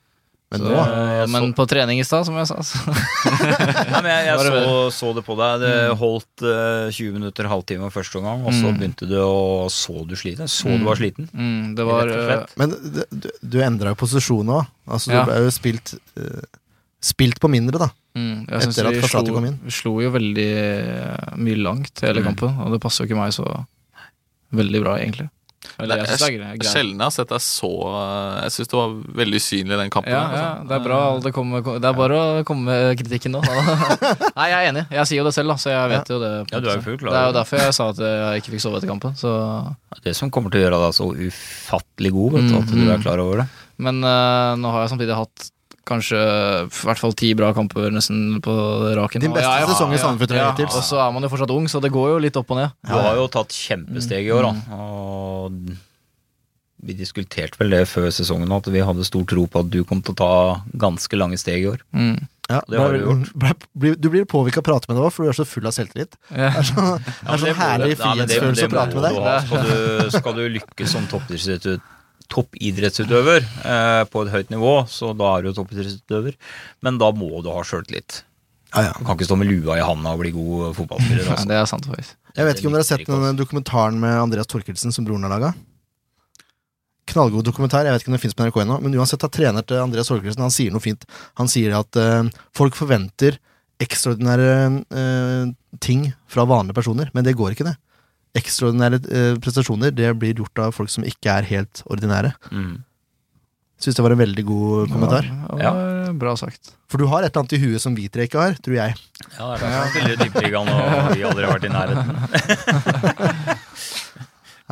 Speaker 4: Men
Speaker 7: Så,
Speaker 4: nå
Speaker 5: eh, jeg
Speaker 7: men på trening i stad, som jeg sa, så
Speaker 5: Nei, men jeg, jeg
Speaker 7: Bare
Speaker 5: så, så det på deg. Det holdt eh, 20 minutter, halvtime første omgang, og så
Speaker 7: Mm.
Speaker 5: begynte du å Så du sliten? Så
Speaker 7: Mm.
Speaker 5: du var sliten?
Speaker 7: mm, Det var
Speaker 5: Rett og
Speaker 7: eh,
Speaker 5: slett.
Speaker 4: Men det- du, du endra jo posisjon òg. Altså, du
Speaker 7: Ja.
Speaker 4: ble jo spilt eh, Spilt på mindre, da.
Speaker 7: Mm, jeg
Speaker 4: Etter
Speaker 7: synes
Speaker 4: at
Speaker 7: vi
Speaker 4: Cassati
Speaker 7: slo-
Speaker 4: kom inn.
Speaker 7: Vi slo jo veldig eh, mye langt hele kampen, og det passer jo ikke meg så veldig bra, egentlig. Eller, jeg synes det er greit. greit.
Speaker 6: Sjelden jeg har sett deg så eh, Jeg syns du var veldig usynlig i den kampen.
Speaker 7: Ja,
Speaker 6: der,
Speaker 7: ja,
Speaker 6: altså.
Speaker 7: det er bra.
Speaker 5: Eh,
Speaker 7: Det, kommer, det er bare å komme med kritikken nå. Nei, jeg er enig. Jeg sier jo det selv, da, så jeg vet jo det.
Speaker 5: Ja, du er jo fullt klar
Speaker 7: det er jo
Speaker 5: over
Speaker 7: derfor jeg sa at jeg ikke fikk sove etter kampen. Så.
Speaker 5: eh, Det som kommer til å gjøre deg så ufattelig god, vet du, at du er klar over det.
Speaker 7: Men eh, nå har jeg samtidig hatt kanskje i hvert fall ti bra kamper nesten på raken.
Speaker 4: Din
Speaker 7: Og
Speaker 4: beste
Speaker 7: jeg-
Speaker 4: sesong i Sandefjord, tror jeg,
Speaker 7: ja,
Speaker 4: hittil.
Speaker 7: Og så er man jo fortsatt ung, så det går jo litt opp og ned.
Speaker 5: Du har jo tatt kjempesteg i år, da. Mm, Og vi diskuterte vel det før sesongen, at vi hadde stor tro på at du kom til å ta ganske lange steg i år.
Speaker 7: Mm.
Speaker 4: Ja,
Speaker 5: det har
Speaker 4: ble-
Speaker 5: du gjort.
Speaker 4: ble- blir- du blir påvirka av å prate med deg òg, for du er så full av selvtillit.
Speaker 7: Ja.
Speaker 4: Det er sånn, det er sånn herlig frihetsfølelse å prate med deg.
Speaker 5: Skal du, skal du lykkes som toppidrettsutøver, toppidrettsutøver eh, på et høyt nivå, så da er du jo toppidrettsutøver, men da må du ha sjøltillit.
Speaker 4: Ja, ja.
Speaker 5: Du kan ikke stå med lua i handa og bli god fotballspiller. Altså.
Speaker 7: Nei, det er sant, faktisk.
Speaker 4: Jeg vet ikke om dere har
Speaker 5: Det
Speaker 4: sett
Speaker 5: likte jeg
Speaker 4: den dokumentaren med Andreas Torkelsen som broren har laga? Knallgod dokumentar. Jeg vet ikke om det fins på NRK ennå, men uansett har trener til Andreas Torkelsen, han sier noe fint. Han sier at eh, folk forventer ekstraordinære eh, ting fra vanlige personer, men det går ikke, det. Ekstraordinære eh, prestasjoner det blir gjort av folk som ikke er helt ordinære.
Speaker 5: Mm.
Speaker 4: Syns det var en veldig god kommentar.
Speaker 7: Ja, det var
Speaker 5: Ja.
Speaker 7: en Bra sagt.
Speaker 4: For du har et eller annet i huet som vi tre ikke har, tror jeg.
Speaker 5: Ja, det er derfor han spiller i Tippeligaen, og vi aldri har vært i nærheten.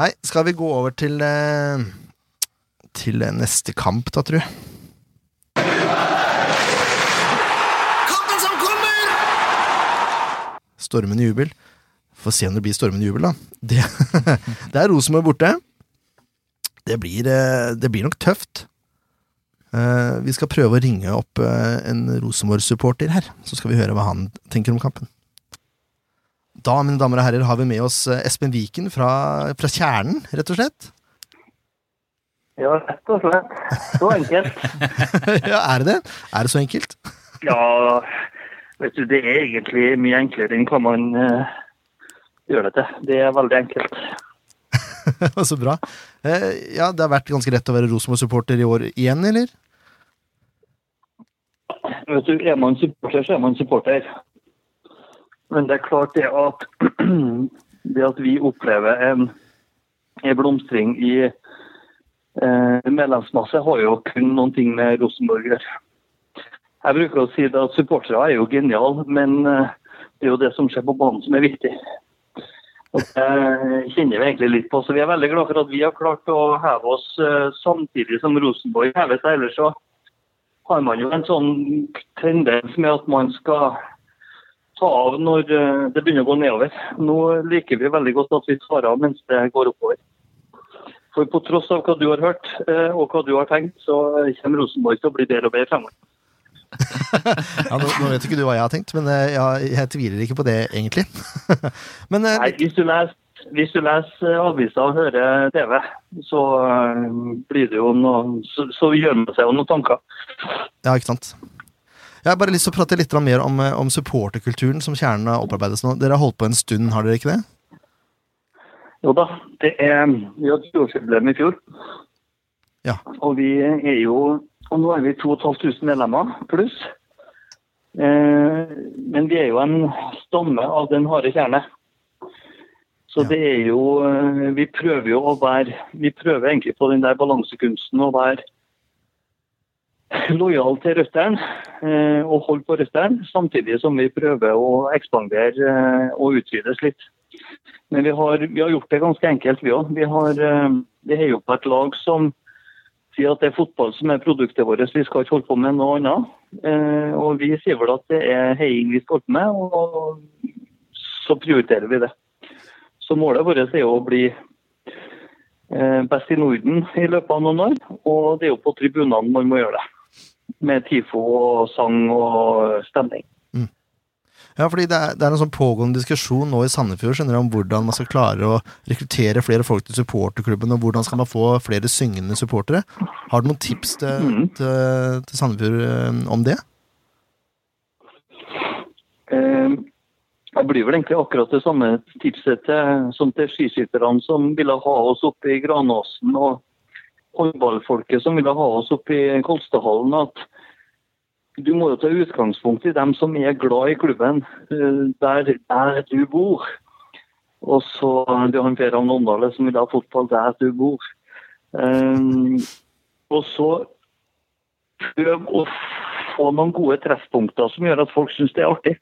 Speaker 4: Nei, skal vi gå over til eh, Til eh, neste kamp, da, tror jeg. Stormende jubel. Får se om det blir stormende jubel, da. Det, det er Rosenborg borte. Det blir, eh, det blir nok tøft. Eh, vi skal prøve å ringe opp eh, en Rosenborg-supporter her, så skal vi høre hva han tenker om kampen. Da, mine damer og herrer, har vi med oss eh, Espen Viken fra, fra Kjernen, rett og slett.
Speaker 8: Ja, rett og slett. Så enkelt.
Speaker 4: ja, er det det? Er det så enkelt?
Speaker 8: Ja, vet du, det er egentlig mye enklere enn hva man eh, gjør det til. Det er veldig enkelt.
Speaker 4: så bra. Eh, ja, det har vært ganske lett å være Rosenborg-supporter i år igjen, eller?
Speaker 8: Vet du, er man supporter, så er man supporter. Men det er klart det at det at vi opplever en, en blomstring i eh, medlemsmasse, har jo kun noen ting med Rosenborg å gjøre. Jeg bruker å si det at supportere er jo geniale, men eh, det er jo det som skjer på banen som er viktig. Og Det kjenner vi egentlig litt på, så vi er veldig glad for at vi har klart å heve oss eh, samtidig som Rosenborg hever seg. Ellers så har man jo en sånn tendens med at man skal ta av når eh, det begynner å gå nedover. Nå liker vi veldig godt at vi tar av mens det går oppover. For på tross av hva du har hørt eh, og hva du har tenkt, så kommer Rosenborg til å bli bedre og bedre fremover.
Speaker 4: Ja, nå, nå vet ikke du hva jeg har tenkt, men eh, ja, jeg tviler ikke på det, egentlig. men eh,
Speaker 8: Nei, hvis du leser, hvis du leser eh, aviser og hører TV, så eh, blir det jo noe, så, så gjør man seg jo noen tanker.
Speaker 4: ja, ikke sant. Jeg har bare lyst til å prate litt grann mer om, eh, om supporterkulturen som Kjernen har opparbeidet seg nå. Dere har holdt på en stund, har dere ikke det?
Speaker 8: Jo da, det er, vi hadde tiårsjubileum i fjor.
Speaker 4: Ja.
Speaker 8: Og vi er jo og Nå er vi 2500 medlemmer pluss. Eh, men vi er jo en stamme av den harde kjerne. Så
Speaker 4: Ja.
Speaker 8: det er jo eh, Vi prøver jo å være Vi prøver egentlig på den der balansekunsten å være lojal til røttene eh, og holde på røttene, samtidig som vi prøver å ekspandere eh, og utvides litt. Men vi har, vi har gjort det ganske enkelt, vi òg. Vi har eh, vi heier på et lag som sier at det er fotball som er produktet vårt, vi skal ikke holde på med noe annet. Eh, og vi sier vel at det er heiing vi skal holde på med, og så prioriterer vi det. Så målet vårt er jo å bli eh, best i Norden i løpet av noen år, og det er jo på tribunene man må gjøre det. Med TIFO og sang og stemning.
Speaker 4: Ja, fordi det er, det er en sånn pågående diskusjon nå i Sandefjord skjønner du, om hvordan man skal klare å rekruttere flere folk til supporterklubben, og hvordan skal man få flere syngende supportere. Har du noen tips til, til, til Sandefjord eh, om det?
Speaker 8: Eh, Jeg blir vel egentlig akkurat det samme tipset til, som til skiskytterne som ville ha oss opp i Granåsen, og håndballfolket som ville ha oss opp i Kolstadhallen, at du må jo ta utgangspunkt i dem som er glad i klubben eh, der, der du bor. Og så eh, det er han Per Arne Omdale som vil ha fotball der du bor. Eh, og så prøv å få noen gode treffpunkter som gjør at folk syns det er artig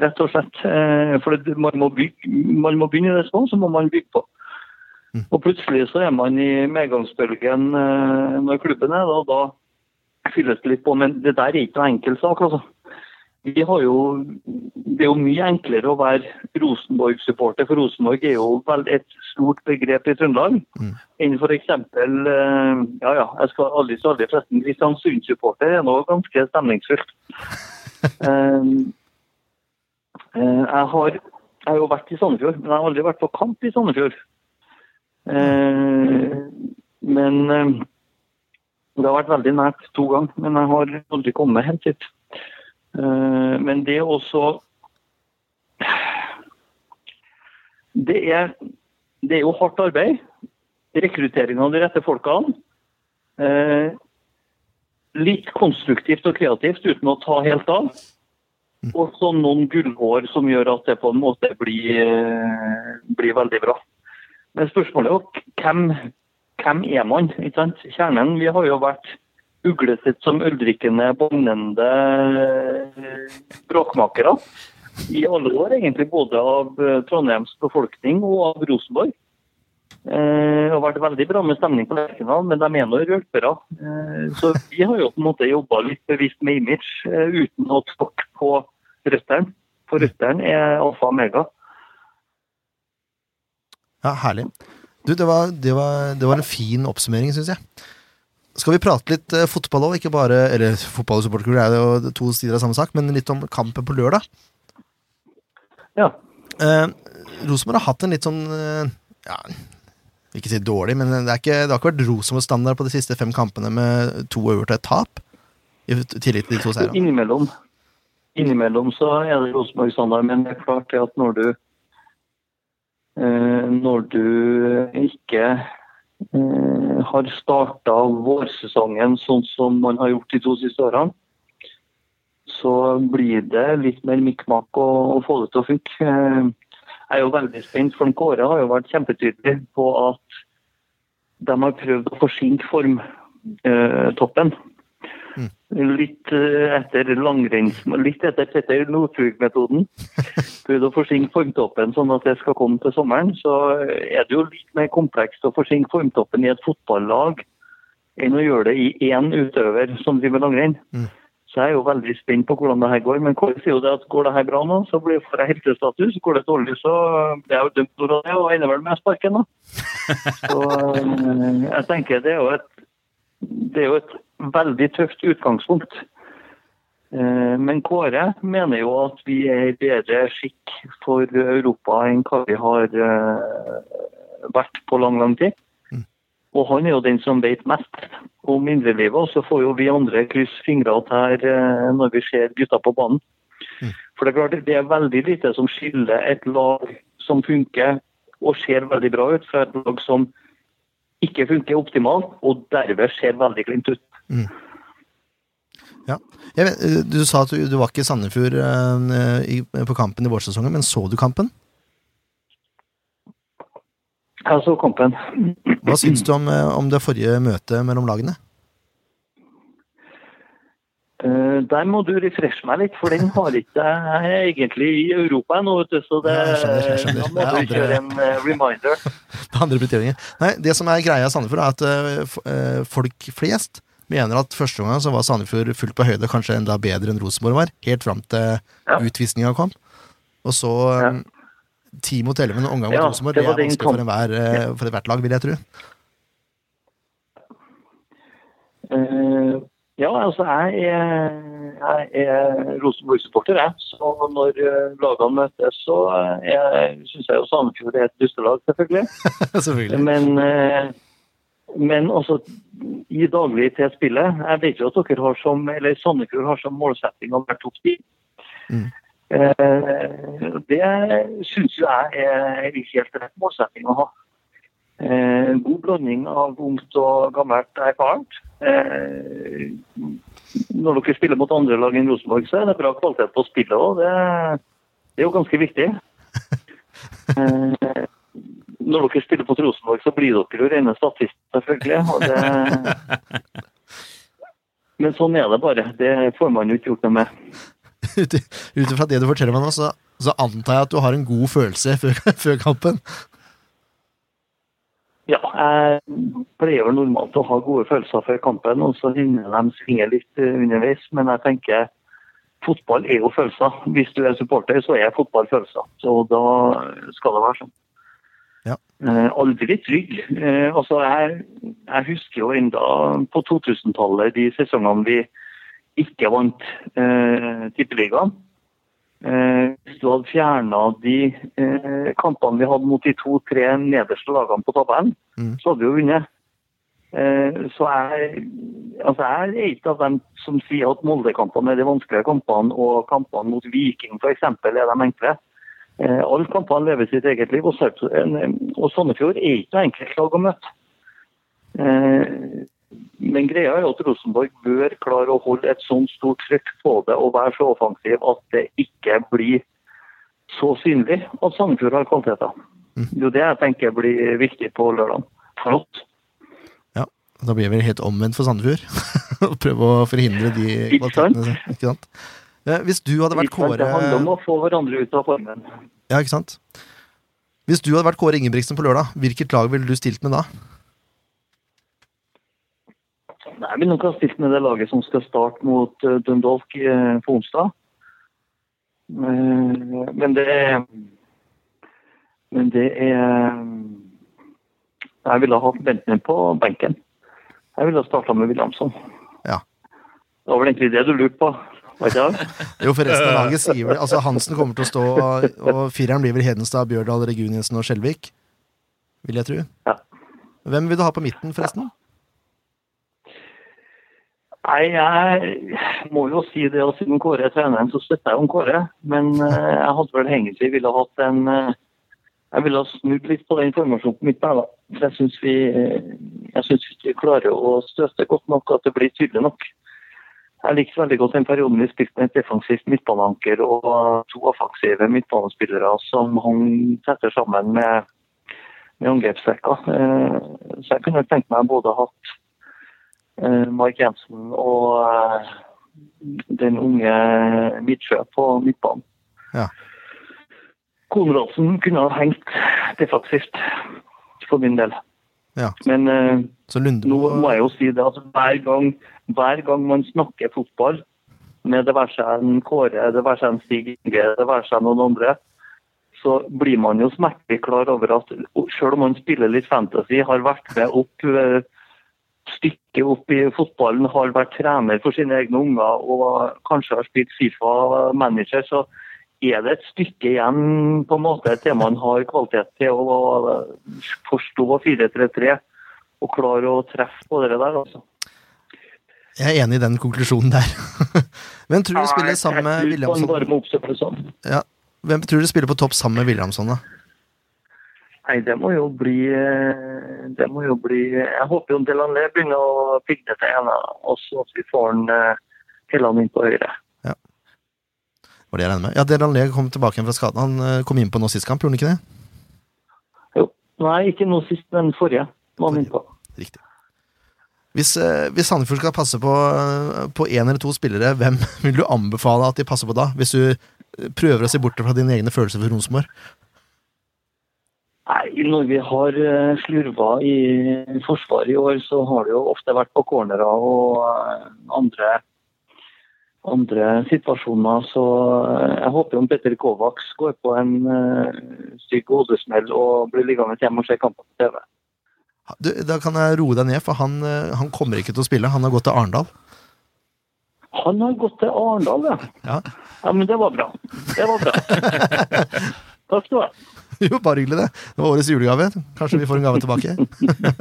Speaker 8: rett og slett. Eh, For det- man må, bygge, man må begynne i det små, så må man bygge på. Og plutselig så er man i medgangsbølgen eh, når klubben er, og da fylles det litt på. Men det der er ikke noen enkel sak, altså. Vi har jo, det er jo mye enklere å være Rosenborg-supporter, for Rosenborg er jo vel et stort begrep i Trøndelag.
Speaker 4: Mm.
Speaker 8: Enn f.eks. Ja ja, jeg skal aldri så aldri forresten. Kristiansund-supporter er nå ganske stemningsfullt. Eh, Eh, Jeg har, jeg har jo vært i Sandefjord, men jeg har aldri vært på kamp i Sandefjord. Eh, men eh, det har vært veldig nært to ganger, men jeg har aldri kommet helt dit. Eh, men det også det er, det er jo hardt arbeid. Rekruttering av de rette folkene. Eh, litt konstruktivt og kreativt uten å ta helt av. Og så noen gullhår som gjør at det på en måte blir, eh, blir veldig bra. Men spørsmålet er jo hvem, hvem er man? ikke sant? Kjernen, vi har jo vært uglesett som øldrikkende, bannende eh, bråkmakere. I alle år, egentlig. Både av eh, Trondheims befolkning og av Rosenborg. Eh, Det har vært veldig bra med stemning på Lerkendal, men de er nå rølpere. Eh, Så vi har jo på en måte jobba litt bevisst med image, eh, uten å tråkke på røttene. For røttene er alfa og omega.
Speaker 4: Ja, herlig. Du, det var, det var, det var en fin oppsummering, syns jeg. Skal vi prate litt eh, fotball òg? Ikke bare Eller fotball og supporterkultur er jo to sider av samme sak, men litt om kampen på lørdag.
Speaker 8: Ja.
Speaker 4: Eh, Rosenborg har hatt en litt sånn eh, Ja, vil ikke si dårlig, men det, er ikke, det har ikke vært Rosenborg-standard på de siste fem kampene med to uavgjort og et tap. I tillegg til de to seirene.
Speaker 8: Innimellom, innimellom så er det Rosenborg-standard, men det er klart det at når du eh, når du ikke eh, har starta vårsesongen sånn som man har gjort de to siste årene, så blir det litt mer mikk-makk å, å få det til å funke. Eh, Jeg er jo veldig spent, for Kåre har jo vært kjempetydelig på at de har prøvd å forsinke formtoppen litt eh, etter langrenns... Litt etter Petter Northug-metoden. Prøvd å forsinke formtoppen sånn at det skal komme til sommeren. Så er det jo litt mer komplekst å forsinke formtoppen i et fotballag enn å gjøre det i én utøver som driver langrenn.
Speaker 4: Mm.
Speaker 8: Så jeg er jo veldig spent på hvordan det her går. Men Kåre sier jo det at går det her bra nå, så blir får jeg heltestatus. Går det dårlig, så blir jeg jo dømt for det, og ender vel med sparken, da. Så eh, jeg tenker det er jo et det er jo et veldig tøft utgangspunkt. Eh, Men Kåre mener jo at vi er i bedre skikk for Europa enn hva vi har eh, vært på lang, lang tid. Og han er jo den som vet mest om indrelivet, og så får jo vi andre krysse fingre og tær eh, når vi ser gutta på banen. For det er klart, det er veldig lite som skiller et lag som funker og ser veldig bra ut, fra et lag som ikke funker optimalt, og derved ser veldig klint ut.
Speaker 4: Ja. Jeg vet, eh, du sa at du, du var ikke i Sandefjord eh, i, på kampen i vårsesongen, men så du kampen?
Speaker 8: Jeg så kampen.
Speaker 4: Hva syns du om, eh, om det forrige møtet mellom lagene?
Speaker 8: Eh, der må du refreshe meg litt, for den har ikke jeg er egentlig i Europa ennå, vet du. Så det,
Speaker 4: Ja, jeg skjønner, jeg skjønner.
Speaker 8: da må
Speaker 4: Det er
Speaker 8: du kjøre en eh, reminder.
Speaker 4: Det andre prioriteringer. Nei, det som er greia i Sandefjord, er at eh, f- eh, folk flest mener at første gangen så var Sandefjord fullt på høyde, kanskje enda bedre enn Rosenborg var, helt fram til
Speaker 8: Ja.
Speaker 4: utvisninga kom. Og så ja. ti mot elleve med en omgang mot
Speaker 8: Ja,
Speaker 4: Rosenborg.
Speaker 8: det
Speaker 4: Det
Speaker 8: var
Speaker 4: er
Speaker 8: den
Speaker 4: vanskelig for,
Speaker 8: kamp-
Speaker 4: enhver, eh, for ethvert lag, vil jeg tro.
Speaker 8: Eh, ja, altså jeg er, jeg er Rosenborg-supporter, jeg. Så når eh, lagene møtes, så syns jeg jo Sandefjord er et dustelag, selvfølgelig.
Speaker 4: Selvfølgelig.
Speaker 8: Men, eh, men også i daglig til spillet. Jeg vet jo at dere har som, eller Sandefjord har som målsetting å være topp ti.
Speaker 4: Mm.
Speaker 8: Eh, det syns jo jeg er en helt rett målsetting å ha. Eh, god blanding av ungt og gammelt er erfarent. Eh, når dere spiller mot andre lag enn Rosenborg, så er det bra kvalitet på spillet òg. Det, det er jo ganske viktig. Eh, når dere spiller mot Rosenborg, så blir dere jo rene statister, selvfølgelig. Og det... Men sånn er det bare. Det får man jo ikke gjort noe med.
Speaker 4: Ut ut ifra det du forteller meg nå, så, så antar jeg at du har en god følelse før, før kampen.
Speaker 8: Ja, jeg pleier vel normalt å ha gode følelser før kampen, og så hender de svinger litt eh, underveis. Men jeg tenker fotball er jo følelser. Hvis du er supporter, så er fotball følelser. Så da skal det være sånn.
Speaker 4: Ja.
Speaker 8: Eh, aldri trygg. Eh, altså, jeg, jeg husker jo enda på 2000-tallet de sesongene vi ikke vant eh, Tippeligaen. Eh, hvis du hadde fjerna de eh, kampene vi hadde mot de to-tre nederste lagene på tabellen,
Speaker 4: Mm.
Speaker 8: så hadde vi jo vunnet. Eh, så jeg, altså jeg er ikke av dem som sier at Molde-kampene er de vanskelige kampene, og kampene mot Viking f.eks. er de enkle. Eh, alle kampene lever sitt eget liv, og, Sarps- eh, og Sandefjord er ikke noe enkelt lag å møte. Eh, men greia er jo at Rosenborg bør klare å holde et sånn stort trykk på det og være så offensiv at det ikke blir så synlig at Sandefjord har kvaliteter. Det er jo det jeg tenker blir viktig på lørdag. Flott.
Speaker 4: Da blir det vel helt omvendt for Sandefjord. og prøve å forhindre de
Speaker 8: Ikke sant?
Speaker 4: kvalitetene. som- Ikke sant? Eh, Hvis du hadde vært
Speaker 8: Ikke sant?
Speaker 4: Kåre
Speaker 8: Det handler om å få hverandre ut av formen.
Speaker 4: Ja, ikke sant? Hvis du hadde vært Kåre Ingebrigtsen på lørdag, hvilket lag ville du stilt med da?
Speaker 8: Nei, Jeg vil nok ha stilt med det laget som skal starte mot eh, Dundalk eh, på onsdag. Eh, Men det er Men det er Jeg ville ha hatt Bentner på benken. Jeg ville ha starta med Williamson.
Speaker 4: Ja.
Speaker 8: Det var vel egentlig det du lurte på? Var ikke det?
Speaker 4: Jo, for resten av laget sier vel Altså, Hansen kommer til å stå, og, og fireren blir vel Hedenstad, Bjørdal, Reguninsen og Skjelvik. Vil jeg tro.
Speaker 8: Ja.
Speaker 4: Hvem vil du ha på midten, forresten?
Speaker 8: Nei, jeg må jo si det at siden Kåre er treneren, så støtter jeg jo Kåre. Men eh, jeg hadde vel egentlig ville hatt en eh, Jeg ville ha snudd litt på den formasjonen på mitt bæla. For jeg syns vi, eh, jeg synes vi klarer å støte godt nok, at det blir tydelig nok. Jeg likte veldig godt den perioden vi spilte med et defensivt midtbaneanker og to offensive midtbanespillere som hang tettere sammen med, med angrepsrekker. Eh, Så jeg kunne tenkt meg både hatt eh, Mark Jensen og eh, den unge Midtsjø på midtbanen.
Speaker 4: Ja.
Speaker 8: Konradsen kunne ha hengt defensivt, for min del.
Speaker 4: Ja.
Speaker 8: Men eh,
Speaker 4: Så Lundemo
Speaker 8: nå må jeg jo si det at hver gang, hver gang man snakker fotball med det være seg en Kåre, det være seg en Stig Inge, det være seg noen andre, så blir man jo smertelig klar over at selv om man spiller litt fantasy, har vært med opp eh, stykket opp i fotballen, har vært trener for sine egne unger og kanskje har spilt Fifa-manager, så er det et stykke igjen på en måte til man har kvalitet til å eh, forstå 4-3-3 og klare å treffe på det der. altså.
Speaker 4: Jeg er enig i den konklusjonen der. Hvem tror du spiller sammen med
Speaker 8: Nei, jeg tror man
Speaker 4: Williamson?
Speaker 8: bare må oppsøke det sånn.
Speaker 4: Ja. Hvem tror du spiller på topp sammen med Williamson, da?
Speaker 8: Nei, det må jo bli eh, Det må jo bli Jeg håper jo Delan Le begynner å pigne til ene, og så at vi får han eh, Helland inn på høyre.
Speaker 4: Var det jeg regner med? Ja, Delan Lee kom tilbake igjen fra skaden. Han eh, kom innpå nå sist kamp, gjorde han ikke det?
Speaker 8: Nei, ikke nå sist, men forrige. Var han innpå.
Speaker 4: Riktig. Hvis, eh, hvis Sandefjord skal passe på eh, På en eller to spillere, hvem vil du anbefale at de passer på da? Hvis du eh, prøver å se bort fra dine egne følelser for Rosenborg?
Speaker 8: Nei, når vi har eh, slurva i forsvaret i år, så har det jo ofte vært på cornerer og eh, andre, andre situasjoner. Så eh, jeg håper jo Petter Kovacs går på en eh, stygg hodesmell og blir liggende hjemme og se kampen på TV.
Speaker 4: Du, da kan jeg roe deg ned, for han, eh, han kommer ikke til å spille. Han har gått til Arendal.
Speaker 8: Han har gått til Arendal, ja.
Speaker 4: Ja.
Speaker 8: Ja, men det var bra. Det var bra. Takk skal du ha.
Speaker 4: Jo, bare hyggelig, det. Det var årets julegave. Kanskje vi får en gave tilbake.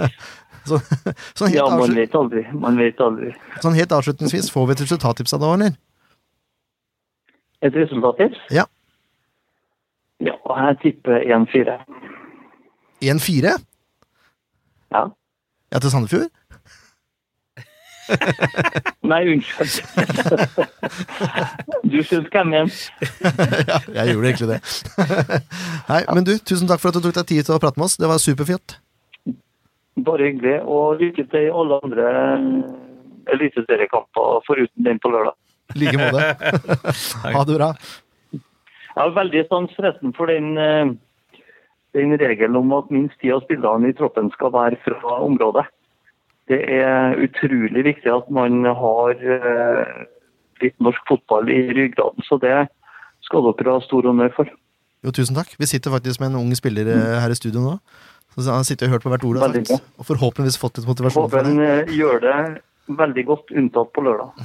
Speaker 4: så, sånn, helt
Speaker 8: Ja, man
Speaker 4: avslut,
Speaker 8: vet aldri. Man vet aldri.
Speaker 4: sånn helt avslutningsvis, får vi et resultattips av det, eller?
Speaker 8: Et resultattips?
Speaker 4: Ja.
Speaker 8: Ja, jeg tipper 1-4.
Speaker 4: 1-4?
Speaker 8: Ja.
Speaker 4: Ja, til Sandefjord?
Speaker 8: Nei, unnskyld. du skjønte hva jeg mener.
Speaker 4: Ja, jeg gjorde egentlig det. Nei, men du, tusen takk for at du tok deg tid til å prate med oss. Det var superfint.
Speaker 8: Bare hyggelig. Og lykke til i alle andre eh, eliteseriekamper foruten den på lørdag.
Speaker 4: I like måte. Ha det bra.
Speaker 8: Jeg har veldig sans forresten for den, eh, den regelen om at minst ti av spillerne i troppen skal være fra området. Det er utrolig viktig at man har eh, litt norsk fotball i ryggraden, så det skal dere ha stor honnør for.
Speaker 4: Jo, tusen takk. Vi sitter faktisk med en ung spiller eh, her i studio nå. Så Han sitter og hørt på hvert ord du har
Speaker 8: Veldig
Speaker 4: sagt, og forhåpentligvis fått litt motivasjon.
Speaker 8: Håper
Speaker 4: for det.
Speaker 8: han eh, gjør det veldig godt, unntatt på lørdag.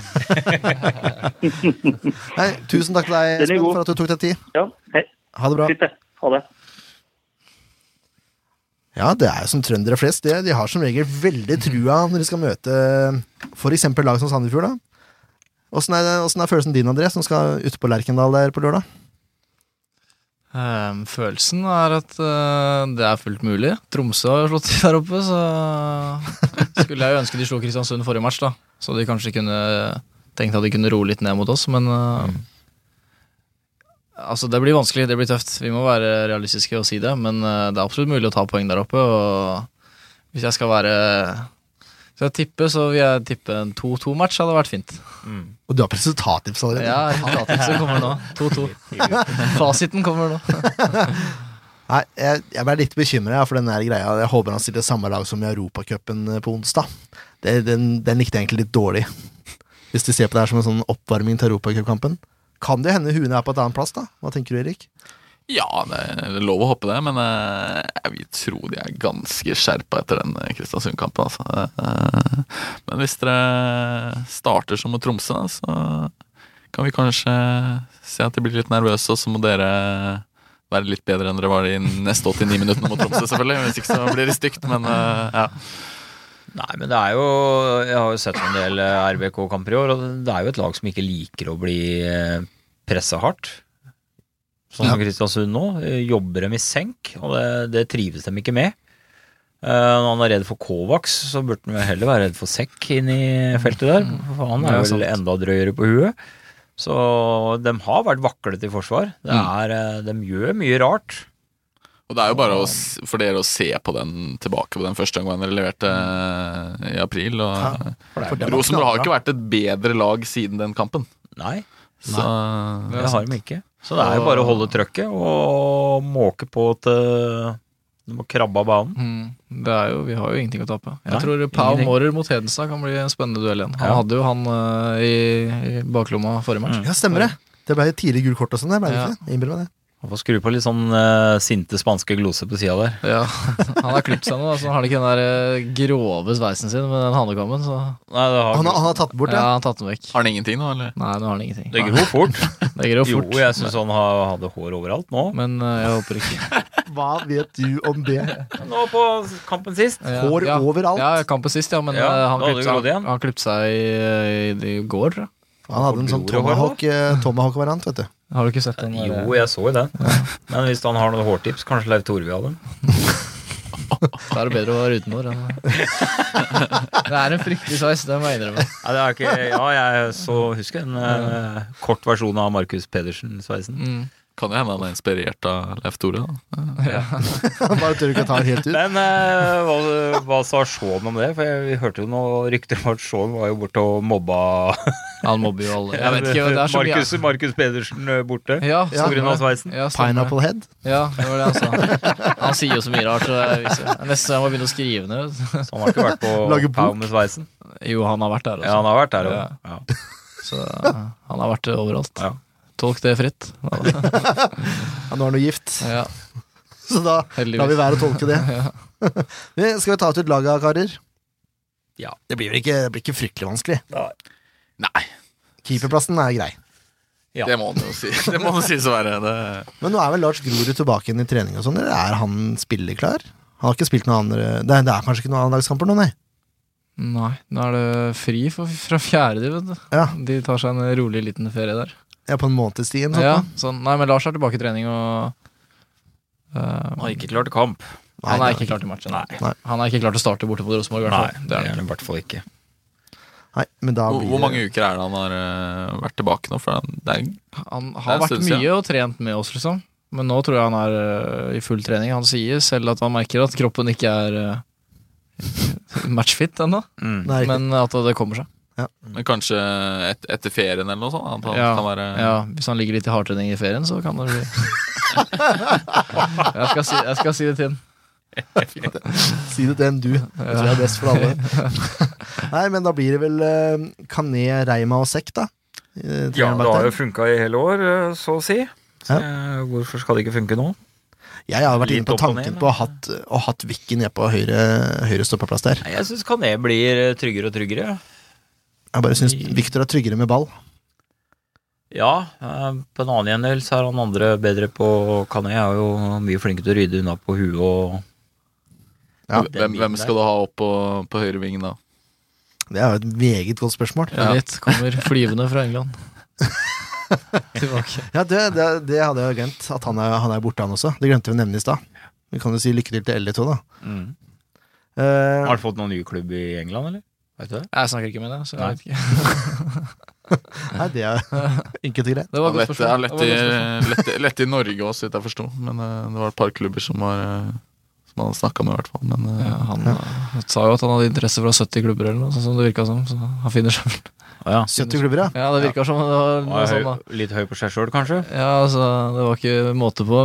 Speaker 4: Nei, tusen takk til deg,
Speaker 8: Den er
Speaker 4: Espen,
Speaker 8: god.
Speaker 4: for at du tok deg tid.
Speaker 8: Ja, hei.
Speaker 4: Ha det bra.
Speaker 8: Fint, det. Ha det.
Speaker 4: Ja, det er jo som trøndere flest. Det. De har som regel veldig trua når de skal møte f.eks. lag som Sandefjord. da. Åssen er, det- hvordan er følelsen din, André, som skal ute på Lerkendal der på lørdag?
Speaker 7: Ehm, følelsen er at eh, det er fullt mulig. Tromsø har slått til der oppe, så skulle jeg jo ønske de slo Kristiansund forrige match, da. Så de kanskje kunne tenkt at de kunne roe litt ned mot oss, men eh, Altså, det blir vanskelig, det blir tøft. Vi må være realistiske og si det, men eh, det er absolutt mulig å ta poeng der oppe, og hvis jeg skal være Så jeg tipper, så vil jeg tippe en 2-2-match hadde vært fint.
Speaker 4: Og du har resultattips allerede?
Speaker 7: Ja, resultatet kommer nå. 2-2. Fasiten kommer nå.
Speaker 4: Nei, jeg, jeg ble litt bekymra for den der greia. Jeg håper han stiller samme lag som i Europacupen eh, på onsdag. Det, den, den likte jeg egentlig litt dårlig. Hvis de ser på det her som en sånn oppvarming til Europacup-kampen. Kan det hende huene er på et annet plass, da? Hva tenker du, Erik?
Speaker 6: Ja, det er lov å håpe det, men eh, jeg vil tro de er ganske skjerpa etter den eh, Kristiansund-kampen. Altså. Eh, men hvis dere starter som mot Tromsø, da, så kan vi kanskje se at de blir litt nervøse, og så må dere være litt bedre enn dere var de neste 89 minuttene mot Tromsø, selvfølgelig. Hvis ikke så blir det stygt, men eh, ja.
Speaker 5: Nei, men det er jo Jeg har jo sett en del eh, RBK-kamper i år, og det er jo et lag som ikke liker å bli pressa hardt. Sånn som Kristiansund nå. eh, Jobber dem i senk, og det, det trives dem ikke med. Eh, Når han er redd for Kovacs, så burde han jo heller være redd for Sekk inn i feltet der. For han er
Speaker 7: Ja,
Speaker 5: vel
Speaker 7: sant.
Speaker 5: enda drøyere på huet. Så de har vært vaklete i forsvar. Det
Speaker 7: Mm.
Speaker 5: er, eh, De gjør mye rart.
Speaker 6: Og det er jo bare å, s- for dere å se på den tilbake på den første gangen dere leverte eh, i april. Og,
Speaker 4: For det var
Speaker 6: Rosenborg har
Speaker 4: knallbra.
Speaker 6: jo ikke vært et bedre lag siden den kampen.
Speaker 5: Nei,
Speaker 6: Så
Speaker 5: det har de ikke. Så det er jo bare å holde trøkket og måke på til de må krabbe av banen.
Speaker 7: Mm, det er jo, vi har jo ingenting å tape. Jeg
Speaker 5: Nei,
Speaker 7: tror Pau
Speaker 5: ingenting.
Speaker 7: Mårer mot Hedenstad kan bli en spennende duell igjen. Han
Speaker 5: Ja.
Speaker 7: hadde jo han eh, i, i baklomma forrige match.
Speaker 5: Mm.
Speaker 4: Ja, stemmer det. Det ble jo tidlig gult kort og sånn, det ble det
Speaker 7: Ja.
Speaker 4: ikke? Jeg Innbiller meg det.
Speaker 5: Man får skru på litt sånn eh, sinte spanske gloser på sida der.
Speaker 7: Ja, Han har klippet seg nå, da, så han har ikke den der eh, grove sveisen sin med den hanekammen. Så
Speaker 5: Nei, det har
Speaker 4: Han, har- han har tatt bort
Speaker 7: ja,
Speaker 4: det.
Speaker 7: han har tatt den vekk.
Speaker 6: har han ingenting nå, eller?
Speaker 7: Nei, nå har han ingenting.
Speaker 5: Det gror fort.
Speaker 7: Det gror
Speaker 5: Jo,
Speaker 7: fort.
Speaker 5: jeg syns han har, hadde hår overalt nå.
Speaker 7: Men eh, jeg håper ikke.
Speaker 4: Hva vet du om det?
Speaker 5: Nå på kampen sist.
Speaker 7: Ja,
Speaker 4: Hår
Speaker 7: ja.
Speaker 4: overalt.
Speaker 7: Ja, kampen sist, ja, men
Speaker 5: Ja,
Speaker 7: eh, han
Speaker 5: da hadde
Speaker 7: klippet
Speaker 5: det grodd igjen.
Speaker 7: seg, han klippet seg i, eh, i, i går, tror jeg.
Speaker 4: Han hadde en sånn
Speaker 5: Får blod i håret,
Speaker 4: tomahawk, eh, tomahawk-variant, vet du.
Speaker 7: Har du ikke sett den?
Speaker 5: Jo,
Speaker 7: der-
Speaker 5: jeg så jo det. Men hvis han har noen hårtips, kanskje Leif Tore vil ha dem.
Speaker 7: Da er det bedre å være utenfor. enn- Det er en fryktelig sveis, det må jeg innrømme.
Speaker 5: Nei, det er ikke, ja, jeg så husker en eh, kort versjon av Markus Pedersen-sveisen.
Speaker 7: Mm.
Speaker 6: Kan jo hende han er inspirert av Leif Tore. da.
Speaker 4: Bare tør du ikke ta den helt ut.
Speaker 5: Men eh, hva, hva sa Shaun om det? For jeg, vi hørte jo noen rykter om at Shaun var jo borte og mobba
Speaker 7: Han mobber jo alle. Jeg vet ikke, det er så mye
Speaker 5: Markus, Markus Pedersen eh, borte.
Speaker 7: Ja,
Speaker 4: Ja.
Speaker 5: På grunn av
Speaker 7: stemmer det.
Speaker 5: sveisen.
Speaker 7: Ja, stemmer det.
Speaker 4: Pineapple head.
Speaker 7: Ja, det var det han sa. Han sier jo så mye rart. Så jeg viser. Neste gang må jeg begynne å skrive ned.
Speaker 5: Så han har ikke vært
Speaker 4: Lage
Speaker 5: på
Speaker 4: bok.
Speaker 5: Pau med sveisen.
Speaker 7: Jo, han har vært der,
Speaker 5: Ja, han
Speaker 7: altså.
Speaker 5: har vært der
Speaker 7: Ja.
Speaker 5: òg. Ja.
Speaker 7: Så eh, han har vært overalt.
Speaker 5: Ja.
Speaker 7: Tolk det fritt.
Speaker 4: Ja, nå er han jo gift,
Speaker 7: Ja,
Speaker 4: så da lar vi
Speaker 7: heldigvis.
Speaker 4: være å tolke det. Men Skal vi ta ut et lag av karer?
Speaker 5: Ja.
Speaker 4: Det blir vel ikke, det blir ikke fryktelig vanskelig.
Speaker 6: Nei,
Speaker 4: Keeperplassen er grei.
Speaker 5: Ja.
Speaker 6: det må han jo si. Det må han sies å være. Det.
Speaker 4: Men nå er vel Lars Grorud tilbake igjen i trening og sånn, eller er han spilleklar? Han har ikke spilt noen andre Det, det er kanskje ikke noen annendagskamper nå, nei?
Speaker 7: Nei, nå er det fri for, fra fjerde, de, vet du.
Speaker 4: Ja.
Speaker 7: De tar seg en rolig liten ferie der.
Speaker 4: Jeg er på en måneds tid eller noe
Speaker 7: Ja,
Speaker 4: sånt.
Speaker 7: sånn. Nei, men Lars er tilbake i trening og eh,
Speaker 5: Han har ikke klart kamp.
Speaker 4: nå.
Speaker 7: han
Speaker 4: Nei,
Speaker 7: er ikke klar til matchen.
Speaker 4: Nei.
Speaker 7: Han er ikke klar til å starte borte mot Rosenborg. i hvert fall. Det er han ikke.
Speaker 5: i hvert fall ikke.
Speaker 4: nei, men da
Speaker 6: Hvor,
Speaker 4: blir
Speaker 6: hvor
Speaker 4: det-
Speaker 6: mange uker er det han har eh, vært tilbake nå? For han- det er,
Speaker 7: Han
Speaker 6: Det er
Speaker 7: har
Speaker 6: en
Speaker 7: vært
Speaker 6: stund siden.
Speaker 7: mye og trent med oss, liksom. Men nå tror jeg han er øh, i full trening. Han sier selv at han merker at kroppen ikke er øh, matchfit ennå,
Speaker 4: Nei, ikke-
Speaker 7: men at det kommer seg.
Speaker 6: men kanskje et, etter ferien eller noe sånt? At han
Speaker 7: Ja,
Speaker 6: kan være
Speaker 7: Ja, Hvis han ligger litt i hardtrening i ferien, så kan det bli jeg, skal si, jeg skal si det til ham.
Speaker 4: Si det til en du. Det tror jeg er best for alle. Nei, men da blir det vel eh, Kané, Reima og Sekk, da. Eh,
Speaker 5: Ja,
Speaker 4: treeren
Speaker 5: det
Speaker 4: bak
Speaker 5: har
Speaker 4: der.
Speaker 5: jo funka i hele år, eh, så å si. Så, eh, Hvorfor skal det ikke funke nå?
Speaker 4: Jeg har vært inne
Speaker 5: Litt
Speaker 4: på
Speaker 5: opp og
Speaker 4: tanken
Speaker 5: ned,
Speaker 4: på å hatt, å hatt Vicky ned på høyre, høyre stoppeplass der.
Speaker 5: Nei, Jeg syns Kané blir eh, tryggere og tryggere.
Speaker 4: Jeg bare syns Victor er tryggere med ball.
Speaker 5: Ja, eh, på en annen gjendel så er han andre bedre på Kané. Er jo mye flinkere til å rydde unna på huet og
Speaker 4: Ja.
Speaker 6: hvem, hvem skal du ha opp på, på høyrevingen da?
Speaker 4: Det er jo et meget godt spørsmål.
Speaker 7: Ja. Litt kommer flyvende fra England. Tilbake.
Speaker 4: Ja, det, det, det hadde jeg jo glemt. At han er, han er borte, han også. Det glemte vi å nevne i stad. Vi kan jo si lykke til til LD2, da.
Speaker 5: Mm.
Speaker 4: Eh,
Speaker 5: Har han fått noen ny klubb i England, eller? Vet du det?
Speaker 7: Jeg snakker ikke med deg, så jeg
Speaker 5: Nei.
Speaker 7: vet ikke.
Speaker 4: nei, det er ikke greit.
Speaker 7: Det var
Speaker 6: Han
Speaker 7: et godt
Speaker 6: lette, han lette,
Speaker 7: spørsmål. Det var et godt
Speaker 6: i-
Speaker 7: spørsmål.
Speaker 6: lette, lette i Norge også, så vidt jeg forsto. Men eh, det var et par klubber som var, eh, som han snakka med, i hvert fall. Men eh,
Speaker 7: Ja, han eh, sa jo at han hadde interesse fra 70 klubber eller noe, sånn som det virka som. Så han finner seg vel
Speaker 4: 70 klubber, ja.
Speaker 7: Ja, det virka som det var noe
Speaker 5: Var høy,
Speaker 7: sånn, da.
Speaker 5: litt høy på seg sjøl, kanskje?
Speaker 7: Ja, altså, det var ikke måte på.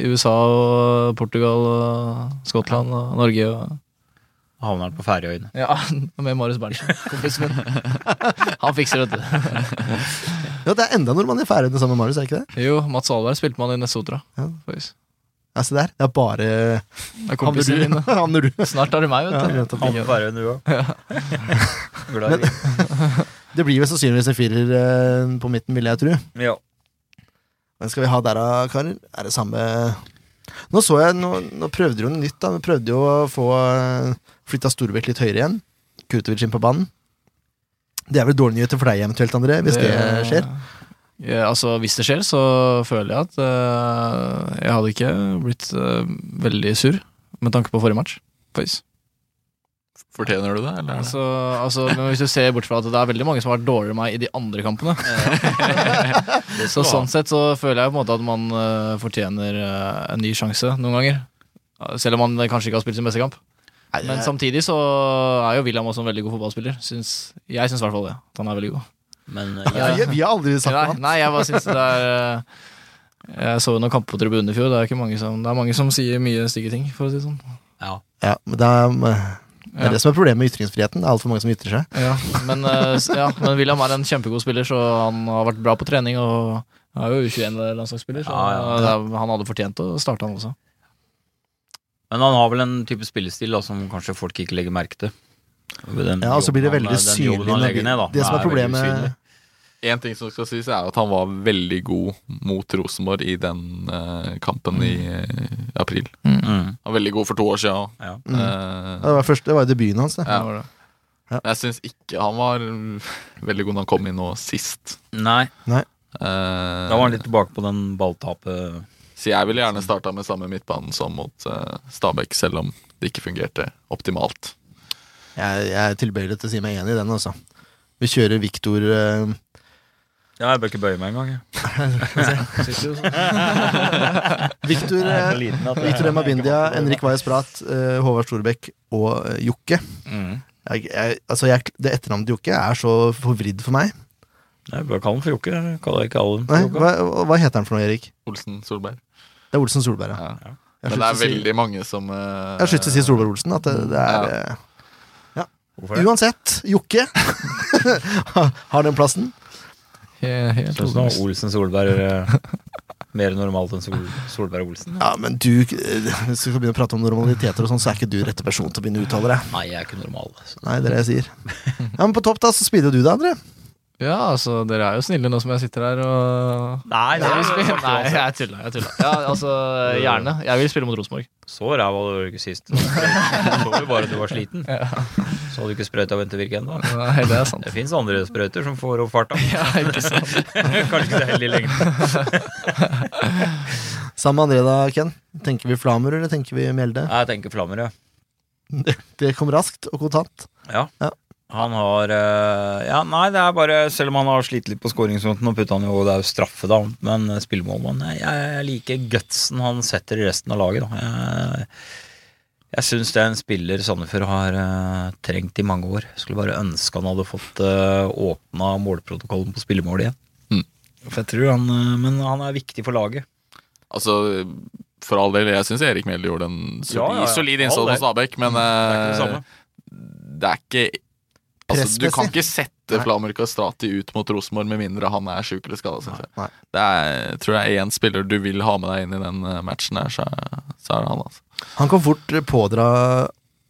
Speaker 7: I USA og Portugal og Skottland og Norge og
Speaker 5: Havner han på Færøyene.
Speaker 7: Ja, med Marius Berntsen, kompisen min. Han fikser det.
Speaker 4: ja. Det er enda nordmann i Færøyene sammen med Marius, er det ikke det?
Speaker 7: Jo, Mats Alberg spilte man i Nessotra.
Speaker 4: Ja.
Speaker 7: faktisk.
Speaker 4: Ja, se der. Det er bare
Speaker 7: Det er kompisene mine.
Speaker 4: Havner du?
Speaker 7: Snart er det meg,
Speaker 4: Ja,
Speaker 7: vet du.
Speaker 4: nettopp.
Speaker 5: Havner på Færøyene, du òg. Glad i
Speaker 4: det blir vel sannsynligvis en firer eh, på midten, vil jeg tro.
Speaker 5: ja.
Speaker 4: Hvem skal vi ha der da, karer? Er det samme Nå så jeg, nå, nå prøvde jo noe nytt, da. Vi prøvde jo å få eh, flytta Storbekk litt høyere igjen. Kutovic inn på banen. Det er vel dårlige nyheter for deg eventuelt, André, hvis det, skjer?
Speaker 7: Ja, altså, hvis det skjer, så føler jeg at eh, jeg hadde ikke blitt eh, veldig sur med tanke på forrige match. Faktisk.
Speaker 6: fortjener du det, eller? er det-
Speaker 7: Altså, altså, men hvis du ser bort fra at det er veldig mange som har vært dårligere enn meg i de andre kampene, så sånn sett så føler jeg på en måte at man eh, fortjener eh, en ny sjanse noen ganger. Selv om han kanskje ikke har spilt sin beste kamp. Men samtidig så er jo William også en veldig god fotballspiller. Syns, jeg syns i hvert fall det. At han er veldig god.
Speaker 5: Men eh,
Speaker 4: Ja,
Speaker 5: jeg,
Speaker 4: vi- vi har aldri sagt
Speaker 7: Nei,
Speaker 4: noe annet.
Speaker 7: nei jeg bare syns det er eh, Jeg så jo noen kamper på tribunen i fjor. Det er, ikke mange som, det er mange som sier mye stygge ting, for å si det sånn.
Speaker 5: ja.
Speaker 4: Ja, men det er, det
Speaker 7: Ja.
Speaker 4: er det som er problemet med ytringsfriheten. Det er altfor mange som ytrer seg.
Speaker 7: Ja, men, eh, s- ja, men William er en kjempegod spiller, så han har vært bra på trening. Og er jo U21-landslagsspiller, så
Speaker 5: Ja, ja.
Speaker 7: det er- han hadde fortjent å starte, han også.
Speaker 5: Men han har vel en type spillestil da, som kanskje folk ikke legger merke til. Den
Speaker 4: Ja, og så blir det
Speaker 5: jobben han-
Speaker 4: veldig
Speaker 5: den
Speaker 4: synlig.
Speaker 5: jobben han legger ned, da.
Speaker 4: når- Det som er
Speaker 5: veldig
Speaker 4: problemet
Speaker 5: usynlig.
Speaker 6: En ting som skal sies, er at han var veldig god mot Rosenborg i den eh, kampen i eh, april.
Speaker 5: Mm.
Speaker 6: Han var veldig god for to år siden.
Speaker 5: Ja.
Speaker 4: mm. ja,
Speaker 6: Eh,
Speaker 4: det, var først, det var jo debuten hans, det.
Speaker 6: Ja.
Speaker 7: Det var det.
Speaker 6: men jeg syns ikke han var veldig god da han kom inn nå sist.
Speaker 5: Nei,
Speaker 6: Eh,
Speaker 5: da var han litt tilbake på den balltapet.
Speaker 6: Så jeg ville gjerne starta med samme midtbanen som mot eh, Stabæk, selv om det ikke fungerte optimalt.
Speaker 4: Jeg, jeg er tilbøyelig til å si meg enig i den, altså. Vi kjører Viktor eh,
Speaker 5: Ja, jeg bør ikke bøye meg engang. jeg.
Speaker 4: Viktor
Speaker 5: Jeg er
Speaker 4: eh,
Speaker 5: så liten at jeg-
Speaker 4: Victor Emabindia, Henrik Weiss Brath, eh, Håvard Storbekk og eh, Jokke.
Speaker 5: Mm.
Speaker 4: Jeg, jeg, altså jeg, det etternavnet Jokke er så forvridd for meg.
Speaker 5: Jeg bør kalle den for Jokke. Jeg kaller ikke alle den for
Speaker 4: Nei,
Speaker 5: Jokke.
Speaker 4: hva, hva heter han for noe, Erik?
Speaker 6: Olsen Solberg.
Speaker 4: Det er Olsen Solberg, ja.
Speaker 6: Ja.
Speaker 4: Jeg har
Speaker 6: Men det er
Speaker 4: slutt til å si-
Speaker 6: veldig mange som eh,
Speaker 4: jeg har slutt til å si Solberg Olsen. At det, det er eh,
Speaker 5: Hvorfor det?
Speaker 4: Uansett, Jokke har den plassen.
Speaker 7: Helt, helt
Speaker 5: Synes du
Speaker 7: overbevist.
Speaker 5: Olsen Solberg er eh, mer normalt enn Sol Solberg Olsen?
Speaker 4: Ja, men du, eh, Hvis vi skal begynne å prate om normaliteter, og sånn, så er ikke du rette person til å begynne å uttale deg.
Speaker 5: Nei, jeg er ikke normal. altså. Så.
Speaker 4: Nei, det er det jeg sier. Ja, Men på topp, da, så spiller du det, André.
Speaker 7: Ja, altså, dere er jo snille nå som jeg sitter her og
Speaker 5: Nei, det er
Speaker 7: Nei,
Speaker 5: ikke
Speaker 7: Nei, jeg tuller. Jeg tuller. Ja, altså, gjerne. Jeg vil spille mot Rosenborg.
Speaker 5: Så ræva du var ikke sist. Du så jo bare at du var sliten. Så hadde du ikke sprøyta ventevirke ennå.
Speaker 7: Nei, det er sant.
Speaker 5: Det fins andre sprøyter som får opp farta.
Speaker 7: Ja, ikke sant.
Speaker 5: Kanskje ikke så heldig i lengden.
Speaker 4: Sammen med André, da, Ken. Tenker vi Flamer, eller tenker vi Mjelde?
Speaker 5: Nei, Jeg tenker Flammer, ja.
Speaker 4: Det kom raskt og kontant.
Speaker 5: Han har eh, Ja, nei, det er bare Selv om han har slitt litt på skåringsfronten, og putta han jo Det er jo straffe, da, men spillemålmann jeg, jeg, jeg liker gutsen han setter i resten av laget, da. Jeg, jeg syns det er en spiller Sandefjord har eh, trengt i mange år. Skulle bare ønske han hadde fått uh, åpna målprotokollen på spillemål igjen.
Speaker 6: Mm.
Speaker 5: For jeg tror han eh, Men han er viktig for laget.
Speaker 6: Altså, for all del, jeg syns Erik Mehl gjorde en solid,
Speaker 5: Ja, ja, ja.
Speaker 6: solid
Speaker 5: All
Speaker 6: innsats
Speaker 5: del.
Speaker 6: hos Stabæk,
Speaker 5: Det
Speaker 6: men
Speaker 5: er ikke det
Speaker 6: eh,
Speaker 5: samme.
Speaker 6: det er ikke Altså, du kan
Speaker 4: Pressmessig.
Speaker 6: ikke sette
Speaker 4: Nei.
Speaker 6: Flamur Kastrati ut mot Rosenborg med mindre han er sjuk eller skada. synes jeg.
Speaker 4: Nei.
Speaker 6: Det er, jeg tror jeg er én spiller du vil ha med deg inn i den eh, matchen her, så, så er det han. altså.
Speaker 4: Han kan fort eh, pådra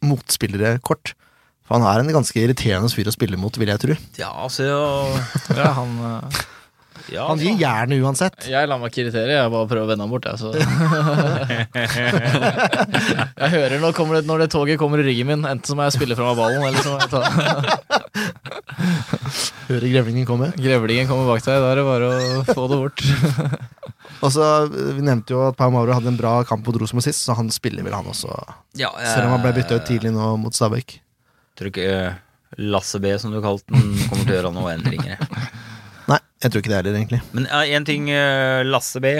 Speaker 4: motspillere kort. For han er en ganske irriterende fyr å spille mot, vil jeg tro.
Speaker 5: Ja, altså ja,
Speaker 7: Ja, han, eh,
Speaker 5: ja,
Speaker 4: Han gir jernet uansett.
Speaker 7: jeg lar meg ikke irritere, jeg bare prøver å vende ham bort. Jeg, så. jeg hører når, kommer det, når det toget kommer i ryggen min, enten så må jeg spille fra meg ballen, eller så må jeg ta
Speaker 4: Hører grevlingen komme.
Speaker 7: Grevlingen kommer bak deg, da er det bare å få det bort.
Speaker 4: Og så, eh, Vi nevnte jo at Pau Mauro hadde en bra kamp mot Rosenborg sist, så han spiller vel, han også.
Speaker 5: ja,
Speaker 4: Selv om han ble
Speaker 5: eh,
Speaker 4: bytta ut tidlig nå mot Stabæk.
Speaker 5: Tror ikke eh, Lasse B, som du kalte den, kommer til å gjøre noe endringer.
Speaker 4: Nei, Jeg tror ikke det heller, egentlig.
Speaker 5: Men én ting eh, Lasse B.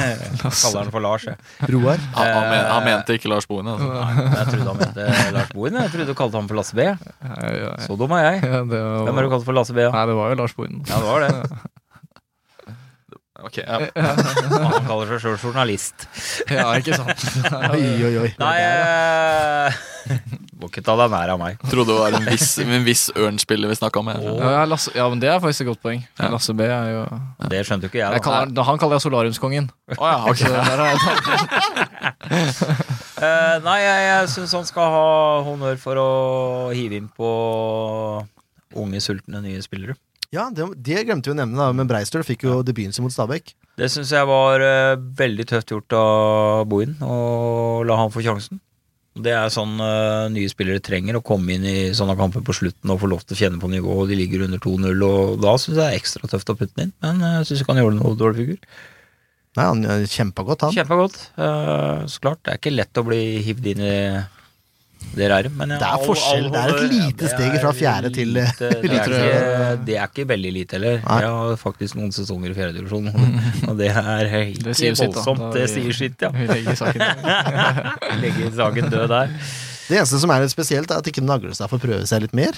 Speaker 5: Kaller han for Lars, jeg.
Speaker 4: Roar.
Speaker 6: Han, han, men, han mente ikke Lars Boine. Altså.
Speaker 5: Jeg trodde han mente Lars Bohin. Jeg trodde du kalte ham for Lasse B.
Speaker 7: Ja, ja, ja.
Speaker 5: Så dum er jeg.
Speaker 7: Ja, det var,
Speaker 5: Hvem har du kalt for Lasse B? da?
Speaker 7: Nei, det var jo Lars Bohinen.
Speaker 5: Ja, det var det.
Speaker 6: Ok, ja.
Speaker 5: Han kaller seg sjøl journalist.
Speaker 7: Ja, ikke sant?
Speaker 4: Oi, oi, oi.
Speaker 5: Nei eh, Må ikke ta deg nær av meg.
Speaker 6: Trodde det var en viss, en viss ørnspiller vi snakka med.
Speaker 5: Å,
Speaker 7: Ja, Lasse, ja, men det er faktisk et godt poeng. Lasse B er jo
Speaker 5: det skjønte jo ikke jeg.
Speaker 7: jeg
Speaker 5: da.
Speaker 7: kaller, han- Han kaller jeg solariumskongen.
Speaker 6: Å ja, ok.
Speaker 7: Så der har jeg tatt
Speaker 5: Eh, nei, jeg, jeg syns han skal ha honnør for å hive inn på unge, sultne nye spillere.
Speaker 4: Ja, det, det glemte vi å nevne, da, men Breistøl fikk jo debuten sin mot Stabæk.
Speaker 5: Det syns jeg var eh, veldig tøft gjort av Bohin å la han få sjansen. Det er sånn eh, nye spillere trenger, å komme inn i sånne kamper på slutten og få lov til å kjenne på nivået. De ligger under 2-0, og da syns jeg det er ekstra tøft å putte den inn. Men eh, jeg syns ikke han gjorde noe dårlig figur.
Speaker 4: Nei, han eh, kjempa godt, han.
Speaker 5: Kjempegodt. Eh, så klart. Det er ikke lett å bli hivd inn i det ræret, men ja,
Speaker 4: Det er
Speaker 5: all- all
Speaker 4: forskjell. Det er et
Speaker 5: honnør.
Speaker 4: lite
Speaker 5: Ja, det
Speaker 4: steg
Speaker 5: er
Speaker 4: fra fjerde til, eh,
Speaker 5: lite, det, er
Speaker 4: eliteserien.
Speaker 5: ikke, det er ikke veldig lite heller.
Speaker 4: Nei.
Speaker 5: Jeg har faktisk noen sesonger i fjerdedivisjon, og det er helt
Speaker 7: Det sier jo sitt, da.
Speaker 5: voldsomt.
Speaker 7: Da
Speaker 5: Det
Speaker 7: vi-
Speaker 5: sier sitt, ja.
Speaker 7: Vi legger saken der.
Speaker 5: Legger saken død der.
Speaker 4: Det eneste som er litt spesielt, er at ikke Naglestad får prøve seg litt mer.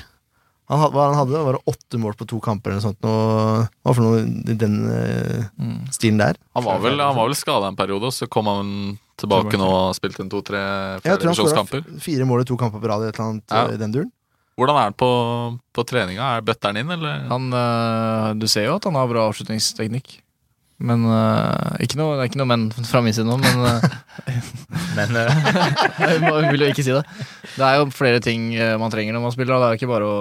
Speaker 4: Han, had- hva han hadde var det åtte mål på to kamper eller noe sånt. Noe, hva for noe i den eh, stilen der?
Speaker 6: Han var vel, han var vel skada en periode, og så kom han sånn. tilbake nå og spilte en to-tre
Speaker 4: Jeg tror han skåra
Speaker 6: flerdivisjonskamper.
Speaker 4: f- fire mål i to kamper på rad eller et eller annet
Speaker 6: Ja.
Speaker 4: eh, i den duren.
Speaker 6: Hvordan er det på, på treninga? Er bøtteren inn, eller?
Speaker 7: Han, øh, du ser jo at han har bra avslutningsteknikk. Men øh, ikke noe, Det er ikke noe men fra min side nå, men øh,
Speaker 5: Men eh,
Speaker 7: jeg må- vil jo ikke si det. Det er jo flere ting øh, man trenger når man spiller. da. Det er jo ikke bare å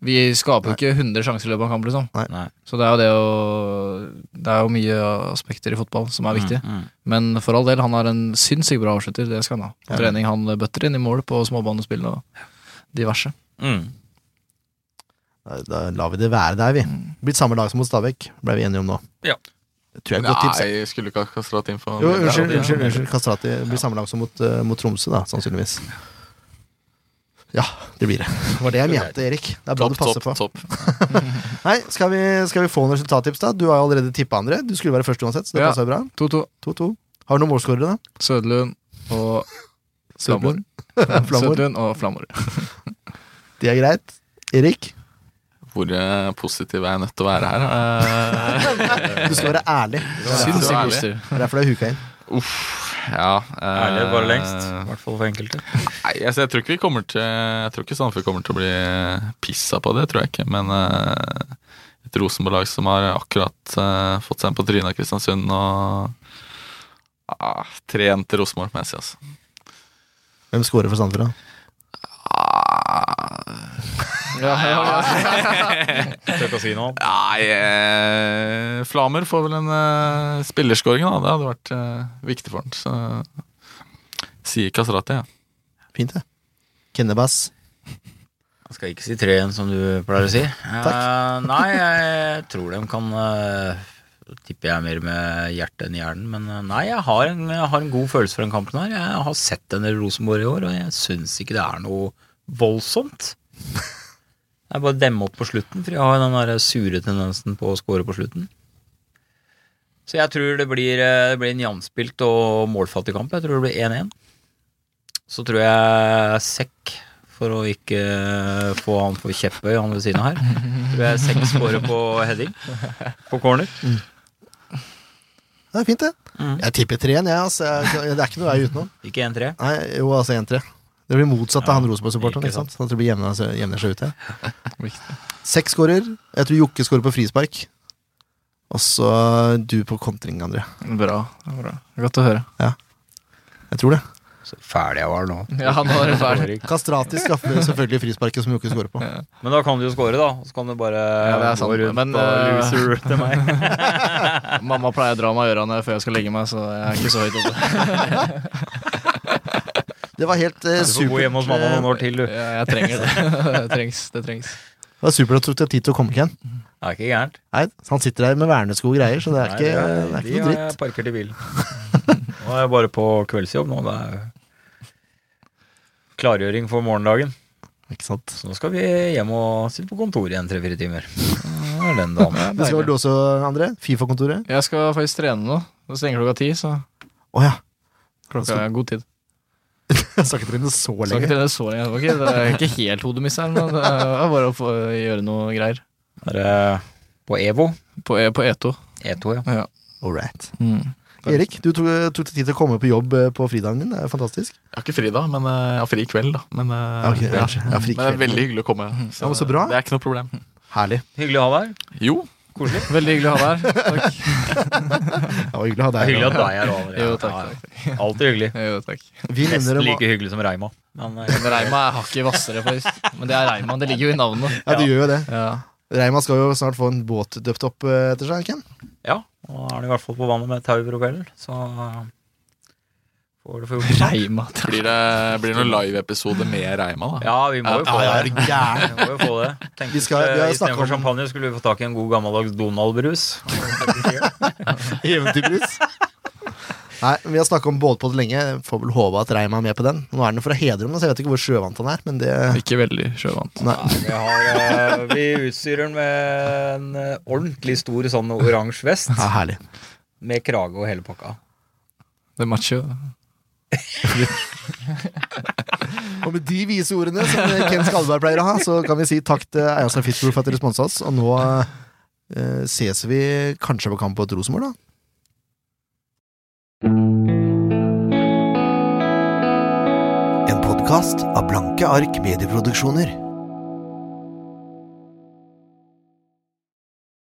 Speaker 7: Vi skaper jo ikke 100 sjanser i løpet av en kamp, liksom.
Speaker 4: Nei.
Speaker 5: Nei.
Speaker 7: Så det er jo det å Det er jo mye aspekter i fotball som er viktige.
Speaker 5: mm, mm.
Speaker 7: Men for all del, han er en sinnssykt bra avslutter. Det skal han ha. På trening han bøtter inn i mål på småbanespill og diverse.
Speaker 5: Mm.
Speaker 4: Da, da lar vi det være der, vi. Blitt samme lag som mot Stabæk, ble vi enige om nå.
Speaker 5: Ja.
Speaker 4: Det tror jeg er et godt tips. jeg.
Speaker 6: Nei, skulle ikke ha kastrat inn for
Speaker 4: Jo, unnskyld, unnskyld, unnskyld. Kastrati blir samme lag som mot, eh, mot Tromsø, da, sannsynligvis. Ja, det blir det. Det var det jeg mente, Erik. Det er bra
Speaker 6: Topp,
Speaker 4: du passer
Speaker 6: topp,
Speaker 4: på.
Speaker 6: topp.
Speaker 4: Nei, skal vi, skal vi få noen resultattips, da? Du har jo allerede tippa andre. Du skulle være først uansett, så det
Speaker 7: Ja.
Speaker 4: passer jo bra.
Speaker 7: 2-2.
Speaker 4: 2-2. Har du noen målskårere, da?
Speaker 7: Sødlund og Flamor.
Speaker 4: Flamor.
Speaker 7: Sødlund og Flamor.
Speaker 4: De er greit. Erik,
Speaker 6: Hvor eh, positiv er jeg nødt til å være her? Eh,
Speaker 4: du skal være ærlig.
Speaker 6: Sinnssykt
Speaker 7: Sinnssykt
Speaker 6: positiv.
Speaker 7: positiv.
Speaker 4: Det er derfor du er huka inn.
Speaker 6: Eh, Uff, ja. eh,
Speaker 5: Ærlig er bare lengst. I hvert fall for enkelte.
Speaker 6: Nei, altså, jeg tror ikke vi kommer til Jeg tror ikke Sandefjord kommer til å bli pissa på det, tror jeg ikke. Men eh, et Rosenborg-lag som har akkurat eh, fått seg en på trynet av Kristiansund og ah, 3-1 til Rosenborg, må jeg si, altså.
Speaker 4: Hvem scorer for Sandefjord, da?
Speaker 6: Ah,
Speaker 5: Tør ikke å si noe.
Speaker 6: Nei, eh, Flamer får vel en eh, spillerskåring, da. Det hadde vært eh, viktig for han. Så sier Kastrati, ja.
Speaker 4: Fint, det. Kennebass.
Speaker 5: Jeg skal ikke si 3-1 som du pleier å si. Eh, nei, jeg tror de kan eh, Tipper jeg mer med hjertet enn hjernen. Men eh, nei, jeg har, en, jeg har en god følelse for den kampen her. Jeg har sett den i Rosenborg i år, og jeg syns ikke det er noe voldsomt. Jeg bare demmer opp på slutten, for jeg har den der sure tendensen på å score på slutten. Så jeg tror det blir, eh, det blir en jevnspilt og målfattig kamp. Jeg tror det blir 1-1. Så tror jeg sekk, for å ikke eh, få han for kjepphøy, han ved siden av her. Tror jeg sekk scorer på heading. På corner.
Speaker 4: Det er fint, det.
Speaker 5: Mhm.
Speaker 4: Jeg tipper 3-1, jeg. Altså. Jeg- Det er ikke noe vei utenom.
Speaker 5: Ikke 1-3.
Speaker 4: Nei, jo, altså 1-3. Det blir motsatt av
Speaker 5: Ja,
Speaker 4: han Rosenborg-supporteren.
Speaker 5: ikke
Speaker 4: ikke sant? Sånn at det blir jevna seg- jevner seg ut. ja.
Speaker 7: Viktig.
Speaker 4: Seks skårer. Jeg tror Jokke skårer på frispark. Og så du på kontring, André.
Speaker 7: Bra. bra. Godt å høre.
Speaker 4: Jeg tror det.
Speaker 5: Så fæl jeg var nå.
Speaker 7: Ja, nå er det ferdig.
Speaker 4: Kastrati skaffer selvfølgelig frisparket som Jokke skårer på.
Speaker 5: Men da kan du jo score, da. Så kan du bare
Speaker 7: Ja, det er sant,
Speaker 5: gå rundt
Speaker 7: men,
Speaker 5: og
Speaker 7: eh,
Speaker 5: loser til meg.
Speaker 7: Mamma pleier å dra meg i ørene før jeg skal legge meg, så jeg er ikke så høyt oppe.
Speaker 4: Det var helt eh,
Speaker 5: Du får bo hjemme hos mamma noen
Speaker 4: supert. eh,
Speaker 5: år til, du.
Speaker 7: Ja, jeg trenger det. Det trengs. det trengs
Speaker 4: Det var supert at du tok deg tid til å komme, Ken.
Speaker 5: Det er ikke gærent.
Speaker 4: Nei, han sitter der med vernesko og greier, så det er ikke, det er ikke noe
Speaker 5: De har jeg
Speaker 4: dritt.
Speaker 5: parkert i bilen. Nå er jeg bare på kveldsjobb nå. Det er klargjøring for morgendagen.
Speaker 4: Ikke sant?
Speaker 5: Så nå skal vi hjem og sitte på kontoret igjen tre-fire timer. Det er den damen.
Speaker 4: Det skal vel du også, André? Fifa-kontoret?
Speaker 7: Jeg skal faktisk trene nå. Det stenger klokka ti, så
Speaker 4: Å ja.
Speaker 7: klokka er god tid.
Speaker 4: Jeg har snakket til henne så
Speaker 7: Skal
Speaker 4: lenge.
Speaker 7: ikke trene så lenge. Det var ikke, det er ikke helt hodemiss her, men det er bare å få gjøre noe greier.
Speaker 5: Er det på EVO?
Speaker 7: På, E- på E2.
Speaker 5: E2, ja.
Speaker 4: All right.
Speaker 7: Mm.
Speaker 4: Erik, du eh, tok, tok deg tid til å komme på jobb eh, på fridagen din. Det er fantastisk.
Speaker 6: Jeg har ikke fri da, men eh, jeg har fri i kveld, da. Men, eh,
Speaker 4: Ja, ok,
Speaker 6: ja.
Speaker 4: ja, ja, fri
Speaker 6: men det er
Speaker 4: kveld.
Speaker 6: veldig hyggelig å komme.
Speaker 4: Ja, men så bra.
Speaker 6: Det er ikke noe problem.
Speaker 4: Herlig.
Speaker 5: Hyggelig å ha deg her.
Speaker 6: Jo,
Speaker 5: Koselig.
Speaker 7: Veldig hyggelig å ha deg her. Takk.
Speaker 4: Det var hyggelig å ha
Speaker 5: Det er
Speaker 4: deg
Speaker 5: hyggelig
Speaker 4: her.
Speaker 5: at deg er over.
Speaker 7: Jo, takk.
Speaker 5: Alltid hyggelig.
Speaker 7: Jo, takk.
Speaker 4: Vi minner
Speaker 5: Nesten
Speaker 4: om
Speaker 5: like hyggelig som Reima. Men, eh,
Speaker 7: Men Reima er hakket hvassere, faktisk. Men det er Reima. Det ligger jo i navnet.
Speaker 4: Ja, du gjør jo det.
Speaker 7: Ja.
Speaker 4: Reima skal jo snart få en båt døpt opp eh, etter seg, Ken.
Speaker 5: ja, nå er det i hvert fall på vannet med tau og propeller, så eh, får du få gjort det.
Speaker 7: Reima.
Speaker 6: blir det, blir det noen live-episode med Reima, da?
Speaker 5: Ja, vi må jo få det. Vi må jo få det. Tenkte
Speaker 4: Vi skal- vi har
Speaker 5: at, eh,
Speaker 4: snakket
Speaker 5: Istedenfor
Speaker 4: om-
Speaker 5: champagne skulle vi få tak i en god gammeldags Donald-brus.
Speaker 4: Eventyrbrus. Nei, Vi har snakka om båtpod lenge. Får vel håpe at Reima er med på den. Nå er den jo fra Hedrum, så jeg vet ikke hvor sjøvant han er. Men det
Speaker 7: Ikke veldig sjøvant.
Speaker 4: Nei.
Speaker 5: Nei, vi, har, eh, vi utstyrer den med en eh, ordentlig stor sånn oransje vest
Speaker 4: Ja, herlig.
Speaker 5: med krage og hele pakka.
Speaker 7: Det matcher jo.
Speaker 4: Og med de vise ordene som Ken Skalberg pleier å ha, så kan vi si takk til Eiansen Fitbro for at dere sponsa oss. Og nå eh, ses vi kanskje på kamp mot Rosenborg, da.
Speaker 1: En podkast av Blanke ark medieproduksjoner.